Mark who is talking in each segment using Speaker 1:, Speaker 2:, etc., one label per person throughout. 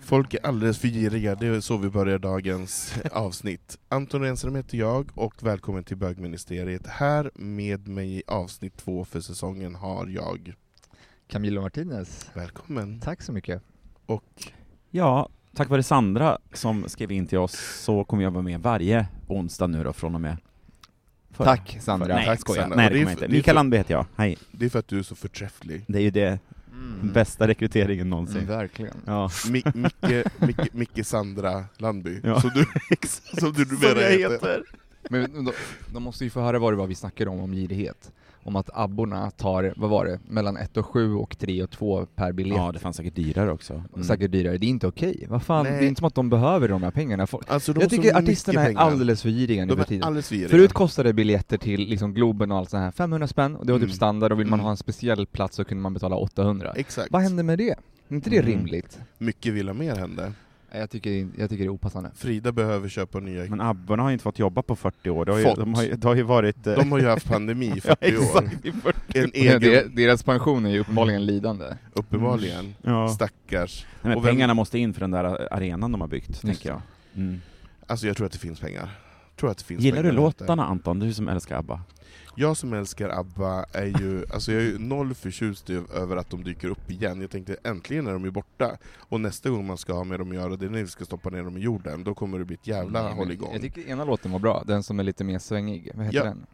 Speaker 1: Folk är alldeles för giriga, det är så vi börjar dagens avsnitt. Anton Renström heter jag och välkommen till bögministeriet. Här med mig i avsnitt två för säsongen har jag.
Speaker 2: Camilo Martinez.
Speaker 1: Välkommen.
Speaker 2: Tack så mycket.
Speaker 1: Och
Speaker 3: Ja, tack vare Sandra som skrev in till oss så kommer jag vara med varje onsdag nu då från och med förra-
Speaker 2: Tack Sandra.
Speaker 3: förra- Nej,
Speaker 1: Tack,
Speaker 3: tack, skojar.
Speaker 1: Sandra.
Speaker 3: Nej,
Speaker 1: Och
Speaker 3: det
Speaker 1: det är
Speaker 3: kommer jag
Speaker 1: för-
Speaker 3: inte.
Speaker 1: det är
Speaker 3: Mikael
Speaker 1: för-
Speaker 3: Landby heter jag. Hej.
Speaker 1: det är för att du är så förträfflig.
Speaker 3: Det är ju det
Speaker 2: Mm.
Speaker 3: bästa rekryteringen någonsin.
Speaker 2: Mm, Verkligen.
Speaker 3: Ja.
Speaker 1: Mi- Micke, Micke, Micke Sandra Landby,
Speaker 3: Ja.
Speaker 1: som du, som du numera heter.
Speaker 2: Men de, de måste ju få höra vad det var vi snackade om, om girighet. Om att abborna tar, vad var det, mellan 1 och 7 och 3 och 2 per biljett.
Speaker 3: Ja, det fanns säkert dyrare också. Mm.
Speaker 2: Säkert dyrare. Det är inte okej. Vad fan,
Speaker 1: Nej.
Speaker 2: det är inte som att de behöver de här pengarna. Folk-
Speaker 1: Alltså, de har
Speaker 2: Jag
Speaker 1: så
Speaker 2: tycker
Speaker 1: mycket
Speaker 2: artisterna är
Speaker 1: pengar.
Speaker 2: alldeles för giriga nu
Speaker 1: De
Speaker 2: för
Speaker 1: är
Speaker 2: tiden.
Speaker 1: alldeles för giriga.
Speaker 2: Förut kostade biljetter till liksom Globen och allt sånt här 500 spänn, och det var
Speaker 1: Mm.
Speaker 2: typ standard, och vill man
Speaker 1: Mm.
Speaker 2: ha en speciell plats så kunde man betala 800.
Speaker 1: Exakt.
Speaker 2: Vad hände med det? Är inte det
Speaker 3: Mm.
Speaker 2: rimligt?
Speaker 1: Mycket vill ha mer hände.
Speaker 2: Nej, Jag tycker, jag tycker det är opassande.
Speaker 1: Frida behöver köpa nya
Speaker 3: Men abborna har ju inte fått jobba på 40 år. Det har ju,
Speaker 1: Fått.
Speaker 3: de har ju, det har ju varit... eh,
Speaker 1: De har ju haft pandemi i 40 år.
Speaker 3: exakt, i 40
Speaker 1: En
Speaker 2: Ja,
Speaker 1: egen, Mm.
Speaker 2: der- Deras pension är ju uppenbarligen lidande.
Speaker 1: uppenbarligen.
Speaker 3: Ja.
Speaker 1: Stackars.
Speaker 3: Nej, men
Speaker 1: Och vem-
Speaker 3: pengarna måste in för den där eh, arenan de har byggt, tänker jag. Mm.
Speaker 1: Alltså jag tror att det finns pengar. Tror att det finns
Speaker 3: Gillar du
Speaker 1: pengar där ute.
Speaker 3: låtarna Anton? Du som älskar ABBA.
Speaker 1: Jag som älskar ABBA är ju, alltså jag är ju noll förtjust i- över att de dyker upp igen. Jag tänkte äntligen är de ju borta. Och nästa gång man ska ha med dem att göra, det är när vi ska stoppa ner dem i jorden. Då kommer det bli ett jävla
Speaker 2: Nej, men
Speaker 1: hålligång.
Speaker 2: Jag tycker ena låten var bra, den som är lite mer svängig. Vad heter
Speaker 1: Ja.
Speaker 2: den?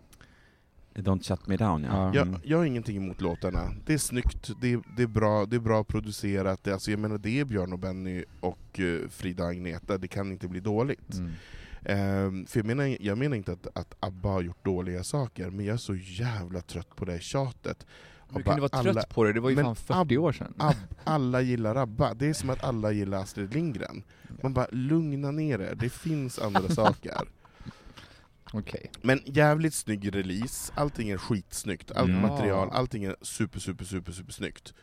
Speaker 3: Don't shut me down, ja.
Speaker 2: Ja. Mm.
Speaker 1: Jag, jag har ingenting emot låtarna. Det är snyggt, det är, det är, bra, det är bra producerat. Det, alltså jag menar, det är Björn och Benny och eh, Frida och Agneta. Det kan inte bli dåligt.
Speaker 2: Mm.
Speaker 1: Ehm, för jag menar, jag menar inte att, att ABBA har gjort dåliga saker, men jag är så jävla trött på det här tjatet.
Speaker 2: Hur
Speaker 1: Bara
Speaker 2: kan du vara trött
Speaker 1: alla-
Speaker 2: på det? Det var ju
Speaker 1: Men
Speaker 2: fan 40 år sedan.
Speaker 1: Ab, alla gillar ABBA, det är som att alla gillar Astrid Lindgren. Man bara, lugna ner er, det finns andra saker.
Speaker 2: Okej.
Speaker 1: Men jävligt snygg release, allting är skitsnyggt, allt
Speaker 3: Ja.
Speaker 1: material, allting är super, super, super, super snyggt.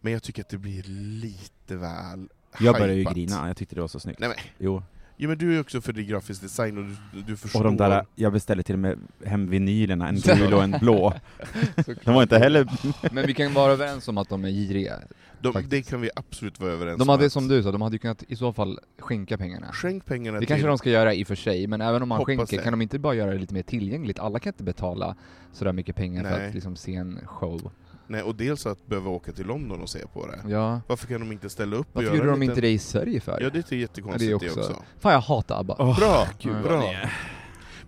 Speaker 1: Men jag tycker att det blir lite väl
Speaker 3: Jag började ju
Speaker 1: hypat.
Speaker 3: grina, jag tyckte det var så snyggt.
Speaker 1: Nej, men,
Speaker 3: Jo.
Speaker 1: jo men du är ju också för det grafisk design och du, du förstår...
Speaker 3: Och de där, jag beställde till och med hem vinylerna, en gul och en blå.
Speaker 2: Såklart.
Speaker 3: De var inte heller...
Speaker 2: Men vi kan vara överens om att de är giriga.
Speaker 1: de,
Speaker 2: faktiskt.
Speaker 1: det kan vi absolut vara överens
Speaker 2: De hade
Speaker 1: att-
Speaker 2: som du sa, de hade ju kunnat i så fall skänka pengarna.
Speaker 1: Skänk pengarna
Speaker 2: Det
Speaker 1: till...
Speaker 2: kanske de ska göra i och för sig, men även om man
Speaker 1: Hoppas
Speaker 2: skänker,
Speaker 1: det.
Speaker 2: kan de inte bara göra det lite mer tillgängligt? Alla kan inte betala sådär mycket pengar för
Speaker 1: Nej.
Speaker 2: att liksom se en show.
Speaker 1: Nej, och dels att behöva åka till London och se på det.
Speaker 2: Ja.
Speaker 1: Varför kan de inte ställa upp
Speaker 2: Varför
Speaker 1: och göra
Speaker 2: gjorde
Speaker 1: en
Speaker 2: de inte
Speaker 1: liten-
Speaker 2: det i Sverige för?
Speaker 1: Ja, det är jättekonstigt det också.
Speaker 2: också- Fan jag hatar ABBA.
Speaker 1: Bra!
Speaker 2: gud,
Speaker 1: bra.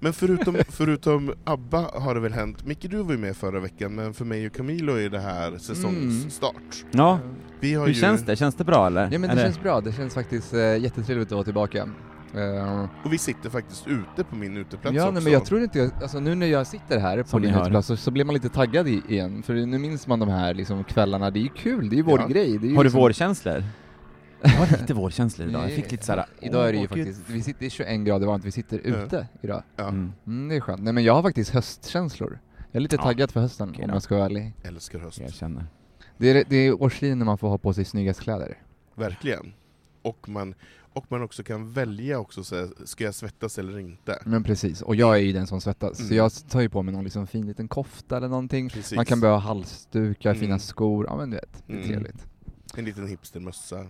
Speaker 1: Men förutom, förutom ABBA har det väl hänt, Micke du var ju med förra veckan, men för mig och Camilo är det här
Speaker 2: Mm.
Speaker 1: säsongsstart.
Speaker 3: Ja,
Speaker 1: Vi har
Speaker 3: hur
Speaker 1: ju,
Speaker 3: känns det? Känns det bra eller?
Speaker 2: Ja men
Speaker 3: Är
Speaker 2: det känns bra, det känns faktiskt eh, jättetrevligt att vara tillbaka. Eh,
Speaker 1: Och vi sitter faktiskt ute på min uteplats
Speaker 2: ja
Speaker 1: också.
Speaker 2: nej, men jag tror inte, jag, alltså nu när jag sitter här på
Speaker 3: Som ni
Speaker 2: din
Speaker 3: hör.
Speaker 2: uteplats så, så blir man lite taggad i, igen, för nu minns man de här liksom, kvällarna, det är ju kul, det är ju vår
Speaker 1: Ja.
Speaker 2: grej. Det är ju
Speaker 3: Har du
Speaker 2: liksom,
Speaker 3: vårkänslor? Jag har lite vårkänslor idag, jag fick lite såhär...
Speaker 2: Idag är det ju
Speaker 3: åh, gud.
Speaker 2: faktiskt, vi sitter, det är 21 grader varmt, vi sitter
Speaker 1: Ja.
Speaker 2: ute idag.
Speaker 1: Ja,
Speaker 3: Mm.
Speaker 2: Mm, det är skönt. Nej men jag har faktiskt höstkänslor. Jag är lite
Speaker 3: Ja.
Speaker 2: taggad för hösten
Speaker 3: Okej
Speaker 2: om
Speaker 3: då.
Speaker 2: jag ska vara ärlig.
Speaker 1: Älskar höst.
Speaker 3: Jag känner.
Speaker 2: Det är, det är årstiden när man får ha på sig snyggast kläder.
Speaker 1: Verkligen. Och man, och man också kan välja också, så här, ska jag svettas eller inte?
Speaker 2: Men precis, och jag är ju den som svettas.
Speaker 1: Mm.
Speaker 2: Så jag tar ju på mig någon liksom fin liten kofta eller någonting.
Speaker 1: Precis.
Speaker 2: Man kan behöva halsdukar,
Speaker 1: Mm.
Speaker 2: fina skor, ja men du vet, det är
Speaker 1: Mm.
Speaker 2: trevligt.
Speaker 1: En liten hipstermössa,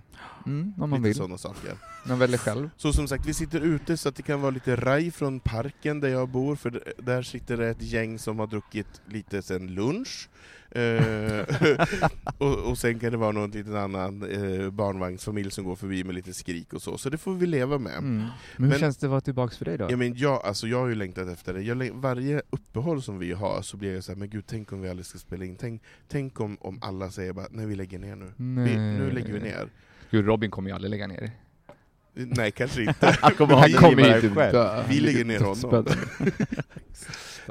Speaker 2: Mm, om man
Speaker 1: lite
Speaker 2: vill.
Speaker 1: sådana saker.
Speaker 2: Man väljer själv.
Speaker 1: Så som sagt, vi sitter ute så att det kan vara lite raj från parken där jag bor, för d- där sitter det ett gäng som har druckit lite sen lunch. Eh, och, och sen kan det vara någon liten annan eh, barnvagnsfamilj som går förbi med lite skrik och så, så det får vi leva med.
Speaker 2: Mm. Men hur
Speaker 1: Men-
Speaker 2: känns det att vara tillbaka för dig då?
Speaker 1: Ja, men jag, alltså, jag har ju längtat efter det. Jag, läng- varje uppehåll som vi har så blir jag så här, men gud tänk om vi aldrig ska spela in. Tänk, tänk om, om alla säger bara, nej vi lägger ner nu. Vi, nu lägger vi ner.
Speaker 2: Gud, Robin kommer ju aldrig lägga ner.
Speaker 1: Nej kanske inte.
Speaker 3: Han kommer
Speaker 1: ha
Speaker 2: Han
Speaker 1: Vi-
Speaker 2: kommer ju
Speaker 1: vi-
Speaker 2: typ dö.
Speaker 1: vi lägger ner honom.
Speaker 2: Dödsbädden.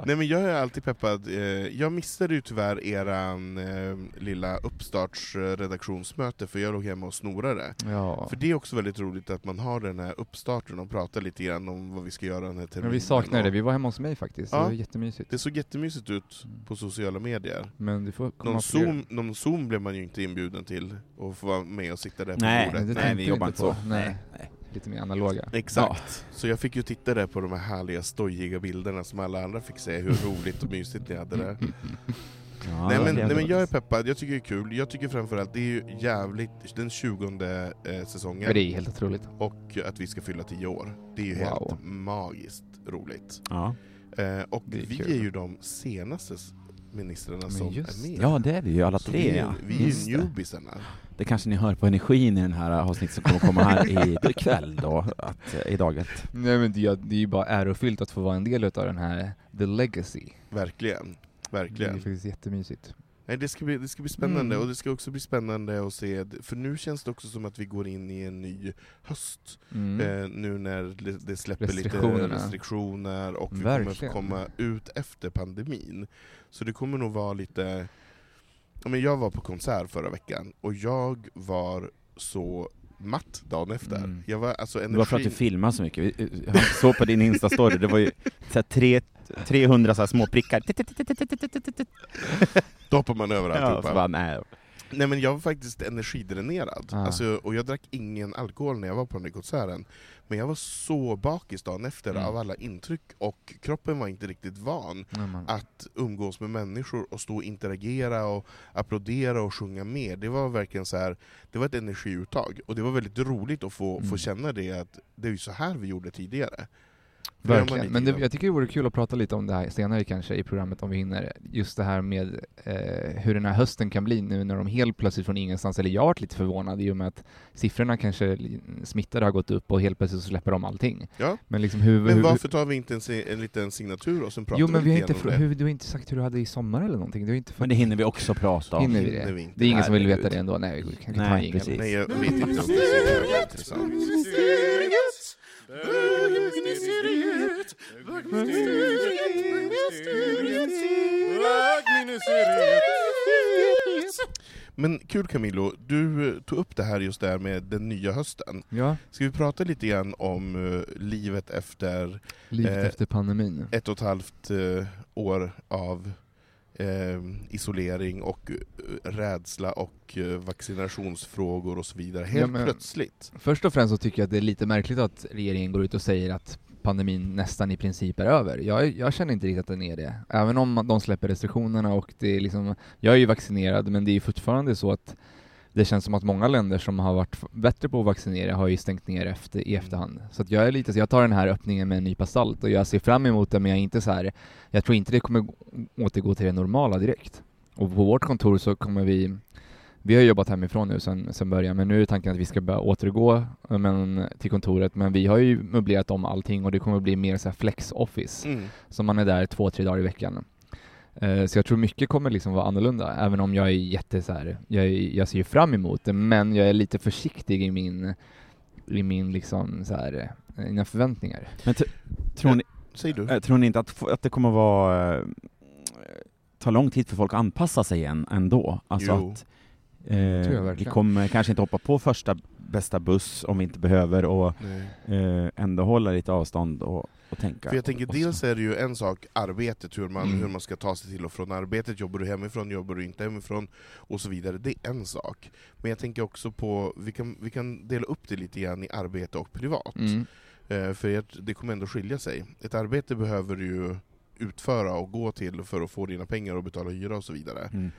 Speaker 1: Nej men jag är alltid peppad. Eh, Jag missade ju tyvärr eran eh, lilla uppstartsredaktionsmöte för jag låg hemma och snorade.
Speaker 2: Ja.
Speaker 1: För det är också väldigt roligt att man har den här uppstarten och pratar lite grann om vad vi ska göra den här terminen.
Speaker 2: Men vi saknar det,
Speaker 1: Och
Speaker 2: vi var hemma hos mig faktiskt.
Speaker 1: Ja.
Speaker 2: Det var jättemysigt.
Speaker 1: Det såg jättemysigt ut
Speaker 2: Mm.
Speaker 1: på sociala medier.
Speaker 2: Men du får komma
Speaker 1: Någon
Speaker 2: fler.
Speaker 1: zoom, någon zoom blev man ju inte inbjuden till och få vara med och sitta där på
Speaker 3: Nej,
Speaker 1: bordet.
Speaker 2: det
Speaker 3: nej,
Speaker 2: tänkte
Speaker 3: vi jobbar inte
Speaker 2: inte
Speaker 3: så.
Speaker 2: på.
Speaker 3: Nej.
Speaker 2: Nej. Lite mer analoga.
Speaker 1: Exakt. Så jag fick ju titta där på de här härliga stojiga bilderna som alla andra fick se, hur roligt och mysigt ni hade
Speaker 2: Mm.
Speaker 1: det.
Speaker 3: Ja,
Speaker 1: nej, men,
Speaker 3: det
Speaker 1: nej men jag är
Speaker 3: roligt.
Speaker 1: peppad, jag tycker det är kul. Jag tycker framförallt det är ju jävligt, den 20 eh,
Speaker 2: Men
Speaker 1: säsongen
Speaker 2: det är helt otroligt.
Speaker 1: och att vi ska fylla 10 år. Det är ju
Speaker 2: Wow.
Speaker 1: helt magiskt roligt.
Speaker 3: Ja.
Speaker 1: Eh, och
Speaker 2: Det är
Speaker 1: vi
Speaker 2: kul.
Speaker 1: är ju de senaste s- ministrarna
Speaker 2: Men
Speaker 1: som
Speaker 2: just
Speaker 1: är med.
Speaker 3: ja, det är vi ju alla
Speaker 1: Så
Speaker 3: tre.
Speaker 1: vi är,
Speaker 3: ja.
Speaker 1: vi är
Speaker 3: Just
Speaker 1: ju
Speaker 3: det.
Speaker 1: newbiesarna.
Speaker 3: Det kanske ni hör på energin i den här avsnittet som kommer komma här i- ikväll då, att, eh, i daget.
Speaker 2: Nej men det, det är ju bara ärofyllt att få vara en del utav den här The Legacy.
Speaker 1: Verkligen.
Speaker 2: Det är
Speaker 1: Verkligen.
Speaker 2: faktiskt jättemysigt.
Speaker 1: Nej, det, ska bli, det ska bli spännande,
Speaker 2: Mm.
Speaker 1: och det ska också bli spännande att se, för nu känns det också som att vi går in i en ny höst.
Speaker 2: Mm.
Speaker 1: Eh, nu när det- det släpper lite
Speaker 2: Restriktionerna.
Speaker 1: restriktioner och vi
Speaker 2: Verkligen.
Speaker 1: kommer att komma ut efter pandemin. Så det kommer nog vara lite... Ja, men jag var på konsert förra veckan och jag var så matt dagen efter.
Speaker 3: Mm.
Speaker 1: Jag var alltså
Speaker 3: Det var för att du
Speaker 1: energin...
Speaker 3: filmade så mycket. Vi- Jag såg på din Insta-story, det var ju så här tre, 300 så här små prickar.
Speaker 1: Då hoppar man över
Speaker 3: Ja,
Speaker 2: typ,
Speaker 1: alltihopa.
Speaker 3: så bara, nej.
Speaker 1: Nej men jag var faktiskt energidränerad,
Speaker 2: Ah.
Speaker 1: alltså, och jag drack ingen alkohol när jag var på den där konserten. Men jag var så bakis dagen efter
Speaker 2: Mm.
Speaker 1: av alla intryck, och kroppen var inte riktigt van
Speaker 2: Nej, man.
Speaker 1: att umgås med människor och stå och interagera och applådera och sjunga med. Det var verkligen så här, det var ett energiuttag, och det var väldigt roligt att få,
Speaker 2: Mm.
Speaker 1: få känna det att det är ju så här vi gjorde tidigare. För det har man
Speaker 2: Verkligen.
Speaker 1: inte
Speaker 2: Men det,
Speaker 1: innan.
Speaker 2: jag tycker det vore kul att prata lite om det här senare kanske i programmet om vi hinner. Just det här med eh, hur den här hösten kan bli nu när de helt plötsligt från ingenstans, eller jag har varit lite förvånad i och med att siffrorna kanske li- smittade har gått upp och helt plötsligt så släpper de allting.
Speaker 1: Ja.
Speaker 2: Men liksom hur...
Speaker 1: Men
Speaker 2: hur
Speaker 1: varför tar vi inte en, si- en liten signatur och sen pratar
Speaker 2: jo men vi har inte,
Speaker 1: lite
Speaker 2: fr-
Speaker 1: igenom
Speaker 2: hur, du har inte sagt hur du hade i sommar eller någonting. Du har inte
Speaker 3: Men det hinner vi också prata om.
Speaker 2: Hinner
Speaker 1: det?
Speaker 2: vi det?
Speaker 1: Hinner vi inte.
Speaker 2: Det är ingen som vill
Speaker 3: Herregud.
Speaker 2: veta det ändå. Nej, vi kan inte ta en
Speaker 3: Nej,
Speaker 2: jingel.
Speaker 3: precis.
Speaker 1: Nej, jag vet inte om det är så jävla intressant. Men kul Camilo, du eh, tog upp det här just där med den nya hösten.
Speaker 2: Ja,
Speaker 1: Ska vi prata lite grann om eh, livet efter
Speaker 2: livet
Speaker 1: Eh,
Speaker 2: efter pandemin.
Speaker 1: ett och ett halvt eh, år av eh, isolering och eh, rädsla och eh, vaccinationsfrågor och så vidare, helt
Speaker 2: men-
Speaker 1: plötsligt.
Speaker 2: Först och främst så tycker jag att det är lite märkligt att regeringen går ut och säger att pandemin nästan i princip är över. Jag, jag känner inte riktigt att den är det. Även om de släpper restriktionerna och det är liksom, jag är ju vaccinerad men det är ju fortfarande så att det känns som att många länder som har varit f- bättre på att vaccinera har ju stängt ner efter, i efterhand. Så att jag är lite, så jag tar den här öppningen med en nypa salt och jag ser fram emot det men jag är inte så här, jag tror inte det kommer gå- återgå till det normala direkt. Och på vårt kontor så kommer vi vi har jobbat hemifrån nu sen, sen början, men nu är tanken att vi ska börja återgå eh, men, till kontoret. Men vi har ju möblerat om allting och det kommer bli mer så här flex-office.
Speaker 1: Mm.
Speaker 2: Så man är där två, tre dagar i veckan. Eh, Så jag tror mycket kommer liksom vara annorlunda, även om jag är jätte så här, jag, är- jag ser ju fram emot det, men jag är lite försiktig i min, i min liksom så här, eh, mina förväntningar.
Speaker 3: Men t- tror, ni,
Speaker 1: Säg du.
Speaker 3: eh, tror ni inte att, f- att det kommer vara eh, ta lång tid för folk att anpassa sig igen ändå? Alltså
Speaker 1: Jo.
Speaker 3: att
Speaker 2: tror jag
Speaker 3: eh, vi
Speaker 2: verkligen.
Speaker 3: kommer kanske inte hoppa på första bästa buss om vi inte behöver och
Speaker 1: Nej.
Speaker 3: eh, ändå hålla lite avstånd och, och tänka.
Speaker 1: För jag tänker,
Speaker 3: Och så-
Speaker 1: dels är det ju en sak, arbetet, hur man,
Speaker 2: Alltså. Mm.
Speaker 1: hur man ska ta sig till och från arbetet, jobbar du hemifrån, jobbar du inte hemifrån, och så vidare. Det är en sak. Men jag tänker också på, vi kan, vi kan dela upp det lite grann i arbete och privat.
Speaker 2: Mm.
Speaker 1: Eh, För jag- det kommer ändå skilja sig. Ett arbete behöver du ju utföra och gå till för att få dina pengar och betala hyra och så vidare.
Speaker 3: Mm.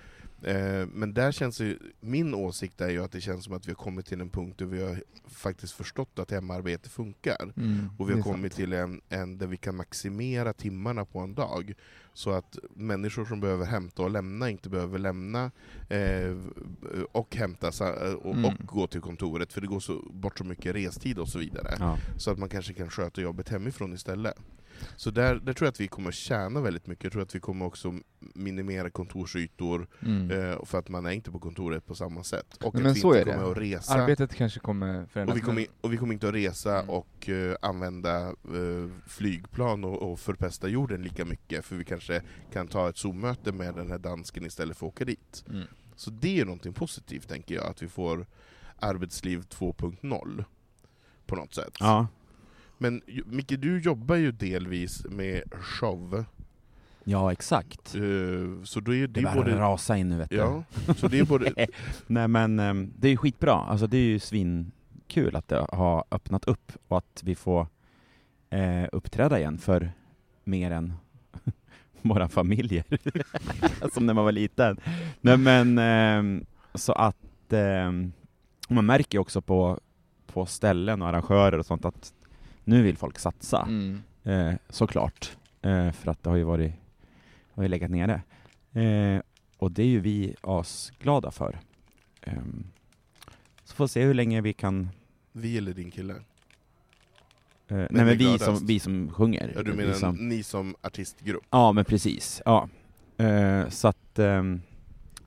Speaker 1: Eh, Men där känns det ju, min åsikt är ju att det känns som att vi har kommit till en punkt där vi har faktiskt förstått att hemarbete funkar.
Speaker 2: Mm,
Speaker 1: Och vi
Speaker 2: det
Speaker 1: har
Speaker 2: är sant.
Speaker 1: kommit till en, en där vi kan maximera timmarna på en dag. Så att människor som behöver hämta och lämna inte behöver lämna eh, och hämta sa- och,
Speaker 2: Mm.
Speaker 1: och gå till kontoret. För det går så, bort så mycket restid och så vidare.
Speaker 3: Ja.
Speaker 1: Så att man kanske kan sköta jobbet hemifrån istället. Så där, där tror jag att vi kommer tjäna väldigt mycket. Jag tror att vi kommer också minimera kontorsytor
Speaker 2: Mm.
Speaker 1: eh, för att man är inte på kontoret på samma sätt. Och
Speaker 2: Nej,
Speaker 1: att
Speaker 2: men
Speaker 1: vi
Speaker 2: så
Speaker 1: inte
Speaker 2: är det.
Speaker 1: kommer att resa.
Speaker 2: Arbetet kanske kommer förändras.
Speaker 1: och, vi kommer, och vi kommer inte att resa
Speaker 2: Mm.
Speaker 1: och eh, använda eh, flygplan och, och förpesta jorden lika mycket. För vi kanske kan ta ett Zoom-möte med den här dansken istället för att åka dit.
Speaker 2: Mm.
Speaker 1: Så det är någonting positivt tänker jag, att vi får arbetsliv 2.0 på något sätt.
Speaker 3: ja.
Speaker 1: Men ju- Micke, du jobbar ju delvis med show,
Speaker 3: Ja, exakt.
Speaker 1: eh, så då är
Speaker 3: Det
Speaker 1: det,
Speaker 3: bara
Speaker 1: både...
Speaker 3: rasa in nu vet du.
Speaker 1: Ja, så det är både...
Speaker 3: Nej men ehm, det är ju skitbra, alltså det är ju svinkul att det har öppnat upp och att vi får eh, uppträda igen för mer än våra familjer, som när man var liten. Nej men, ehm, så att ehm, man märker ju också på, på ställen och arrangörer och sånt att nu vill folk satsa.
Speaker 2: Mm.
Speaker 3: Eh, såklart. Eh, för att det har ju varit, har ju legat nere. Eh, och det är ju vi asglada för. Ehm, så får vi se hur länge vi kan...
Speaker 1: Vi eller din kille? vi
Speaker 3: Eh, nej
Speaker 1: är
Speaker 3: men vi
Speaker 1: gladast.
Speaker 3: som, vi som sjunger.
Speaker 1: Ja, du
Speaker 3: Vi
Speaker 1: menar
Speaker 3: som,
Speaker 1: ni som artistgrupp?
Speaker 3: ja men precis. Ja. Eh, så att... ehm,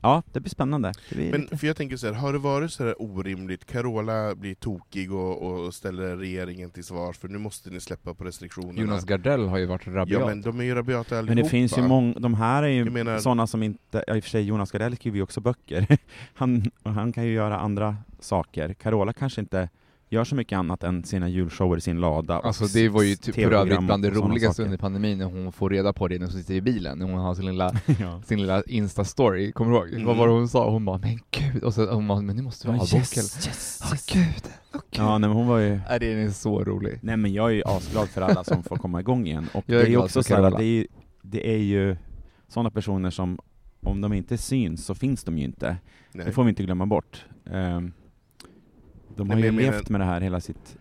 Speaker 3: ja, det blir spännande. Det blir
Speaker 1: Men
Speaker 3: lite-
Speaker 1: för jag tänker så här, har det varit så här orimligt? Carola blir tokig och, och ställer regeringen till svars för nu måste ni släppa på restriktionerna.
Speaker 2: Jonas Gardell har ju varit rabiat.
Speaker 1: Ja men de är ju rabiata allihopa.
Speaker 3: Men det finns ju många, de här är ju
Speaker 1: Jag menar-
Speaker 3: sådana som inte, ja, i och för sig Jonas Gardell skriver ju också böcker. Han, och han kan ju göra andra saker. Carola kanske inte gör så mycket annat än sina julshower i sin lada. och
Speaker 2: Alltså det var ju
Speaker 3: s-
Speaker 2: typ för
Speaker 3: TV-program
Speaker 2: övrigt bland det
Speaker 3: och sådana
Speaker 2: roligaste
Speaker 3: saker.
Speaker 2: under pandemin när hon får reda på det när hon sitter i bilen, när hon har sin lilla,
Speaker 3: ja.
Speaker 2: sin lilla Insta-story, kommer du ihåg?
Speaker 1: Mm.
Speaker 2: Vad var det hon sa? Hon bara 'Men gud' och så hon bara 'Men nu måste vi
Speaker 3: Ja,
Speaker 2: ha
Speaker 3: yes,
Speaker 2: avboka' eller-
Speaker 3: yes, yes.
Speaker 2: Åh gud, åh gud.
Speaker 3: Ja, nej, men hon var ju...
Speaker 2: Nej, den är så rolig.
Speaker 3: Nej men jag är ju asglad för alla som får komma igång igen. Och
Speaker 2: Jag är
Speaker 3: det är ju
Speaker 2: glad
Speaker 3: också
Speaker 2: för
Speaker 3: så här,
Speaker 2: Carola.
Speaker 3: det är ju, det är ju sådana personer som, om de inte syns så finns de ju inte.
Speaker 1: Nej.
Speaker 3: Det får vi inte glömma bort. Ehm, de har
Speaker 1: men
Speaker 3: ju
Speaker 1: jag menar-
Speaker 3: levt med det här hela sitt...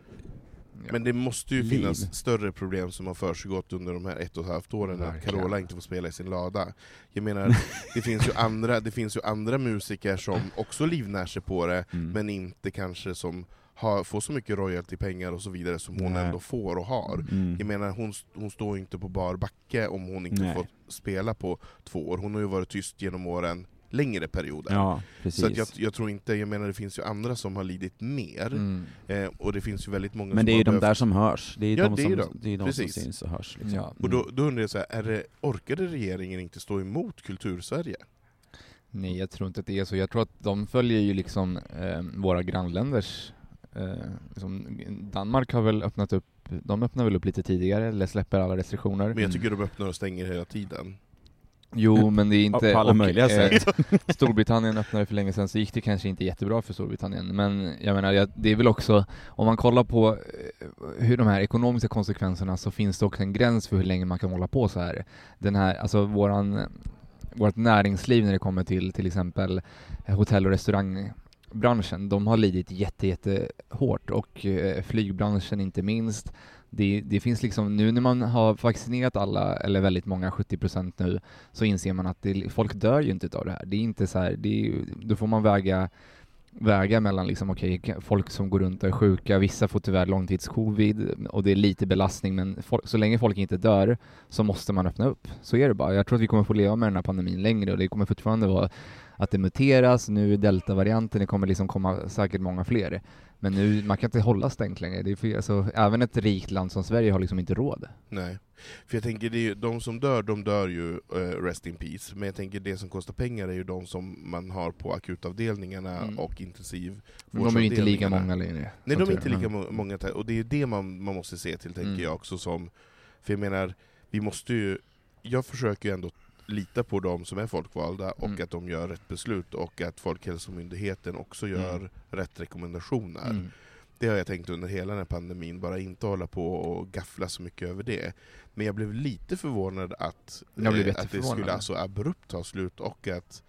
Speaker 1: Men det måste ju
Speaker 3: Liv.
Speaker 1: finnas större problem som har försiggått under de här ett och ett halvt åren, att
Speaker 2: Verkligen.
Speaker 1: Carola inte får spela i sin lada. Jag menar, det finns ju andra, det finns ju andra musiker som också livnär sig på det,
Speaker 3: Mm.
Speaker 1: men inte kanske som har, får så mycket royaltypengar och så vidare som hon
Speaker 3: Nej.
Speaker 1: ändå får och har.
Speaker 3: Mm.
Speaker 1: Jag menar, hon, st- hon står ju inte på bar backe om hon inte
Speaker 3: Nej.
Speaker 1: får spela på två år. Hon har ju varit tyst genom åren längre perioder.
Speaker 3: Ja, precis.
Speaker 1: Så att jag, jag tror inte, jag menar det finns ju andra som har lidit mer,
Speaker 2: Mm.
Speaker 1: eh, och det finns ju väldigt många
Speaker 3: men
Speaker 1: som
Speaker 3: det är
Speaker 1: har
Speaker 3: ju de
Speaker 1: behövt-
Speaker 3: där som hörs. Det är ju
Speaker 1: Ja,
Speaker 3: de,
Speaker 1: det är
Speaker 3: som,
Speaker 1: de.
Speaker 3: Det är ju de som
Speaker 1: Precis.
Speaker 3: syns och hörs. Liksom.
Speaker 2: Ja. mm.
Speaker 1: Och då, då undrar jag så här, är det, orkade regeringen inte stå emot Kultursverige?
Speaker 2: Nej, jag tror inte att det är så. Jag tror att de följer ju liksom eh, våra grannländers... Eh, liksom, Danmark har väl öppnat upp, de öppnar väl upp lite tidigare, eller släpper alla restriktioner.
Speaker 1: Men jag tycker de öppnar och stänger hela tiden.
Speaker 2: Jo, men det är inte...
Speaker 3: På alla
Speaker 2: och, eh,
Speaker 3: möjliga sätt.
Speaker 2: Storbritannien öppnade för länge sedan, så gick det kanske inte jättebra för Storbritannien. Men jag menar, jag- det är väl också, om man kollar på eh, hur de här ekonomiska konsekvenserna så finns det också en gräns för hur länge man kan hålla på så här. Den här, alltså våran, vårt näringsliv när det kommer till till exempel eh, hotell och restaurangbranschen, de har lidit jätte, jätte hårt och eh, flygbranschen inte minst. Det, det finns liksom, nu när man har vaccinerat alla, eller väldigt många, 70% nu, så inser man att det, folk dör ju inte av det här. Det är inte så här, det är, ju- då får man väga, väga mellan liksom, okej, ka- folk som går runt och är sjuka, vissa får tyvärr långtidscovid och det är lite belastning, men folk, så länge folk inte dör så måste man öppna upp. Så är det bara. Jag tror att vi kommer få leva med den här pandemin längre och det kommer fortfarande vara att det muteras, nu är deltavarianten, det kommer liksom komma säkert många fler. Men nu, man kan inte hålla stängt längre. Det är för, alltså, även ett rikt land som Sverige har liksom inte råd.
Speaker 1: Nej. För jag tänker, det är ju, de som dör, de dör ju eh, rest in peace. Men jag tänker det som kostar pengar är ju de som man har på akutavdelningarna
Speaker 2: Mm.
Speaker 1: och intensiv
Speaker 2: Men de är ju inte lika många längre. Mm.
Speaker 1: Nej, de är inte
Speaker 2: Men-
Speaker 1: lika må- många. ta- Och det är ju det man, man måste se till, tänker
Speaker 2: Mm.
Speaker 1: jag också. Som, för jag menar, vi måste ju... Jag försöker ju ändå lita på de som är folkvalda och
Speaker 2: Mm.
Speaker 1: att de gör rätt beslut och att Folkhälsomyndigheten också gör
Speaker 2: Mm.
Speaker 1: rätt rekommendationer.
Speaker 2: Mm.
Speaker 1: Det har jag tänkt under hela den här pandemin, bara inte hålla på och gaffla så mycket över det. Men jag blev lite förvånad att,
Speaker 2: Jag blev
Speaker 1: eh, att det
Speaker 2: jätteförvånad.
Speaker 1: skulle alltså abrupt ta slut och att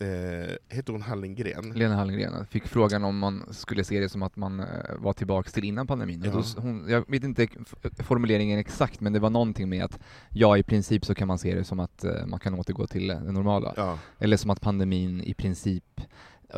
Speaker 1: eh, hette hon Hallengren?
Speaker 2: Lena Hallengren fick frågan om man skulle se det som att man eh, var tillbaks till innan pandemin. Och då,
Speaker 1: Ja.
Speaker 2: s- hon, jag vet inte f- formuleringen exakt, men det var någonting med att ja, i princip så kan man se det som att eh, man kan återgå till eh, det normala.
Speaker 1: Ja.
Speaker 2: Eller som att pandemin i princip...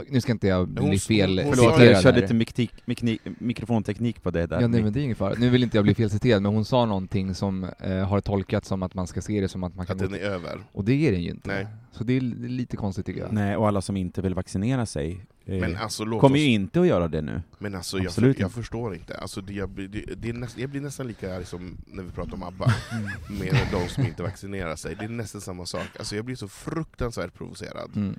Speaker 2: Nu ska inte jag
Speaker 1: hon-
Speaker 2: bli
Speaker 1: hon-
Speaker 2: fel...
Speaker 1: hon-
Speaker 3: Förlåt,
Speaker 1: sa-
Speaker 3: jag
Speaker 2: citerad
Speaker 3: körde
Speaker 2: här.
Speaker 3: lite miktik, mikni, mikrofonteknik på det där.
Speaker 2: Ja, nej, men det är ingen fara. Nu vill inte jag bli felciterad, men hon sa någonting som eh, har tolkats som att man ska se det som att man kan...
Speaker 1: Att den
Speaker 2: gå-
Speaker 1: är över.
Speaker 2: Och det är den ju inte.
Speaker 1: Nej.
Speaker 2: Så det är l- lite konstigt tycker jag.
Speaker 3: Nej, och alla som inte vill vaccinera sig eh,
Speaker 1: Men alltså, låt oss,
Speaker 3: kommer ju inte att göra det nu.
Speaker 1: men alltså jag,
Speaker 3: Absolut
Speaker 1: för, jag
Speaker 3: inte.
Speaker 1: förstår inte. Alltså, det, jag, blir- det, det är näst, jag blir nästan lika arg som när vi pratar om ABBA,
Speaker 2: Mm.
Speaker 1: med de som inte vaccinerar sig. Det är nästan samma sak. Alltså, jag blir så fruktansvärt provocerad.
Speaker 2: Mm.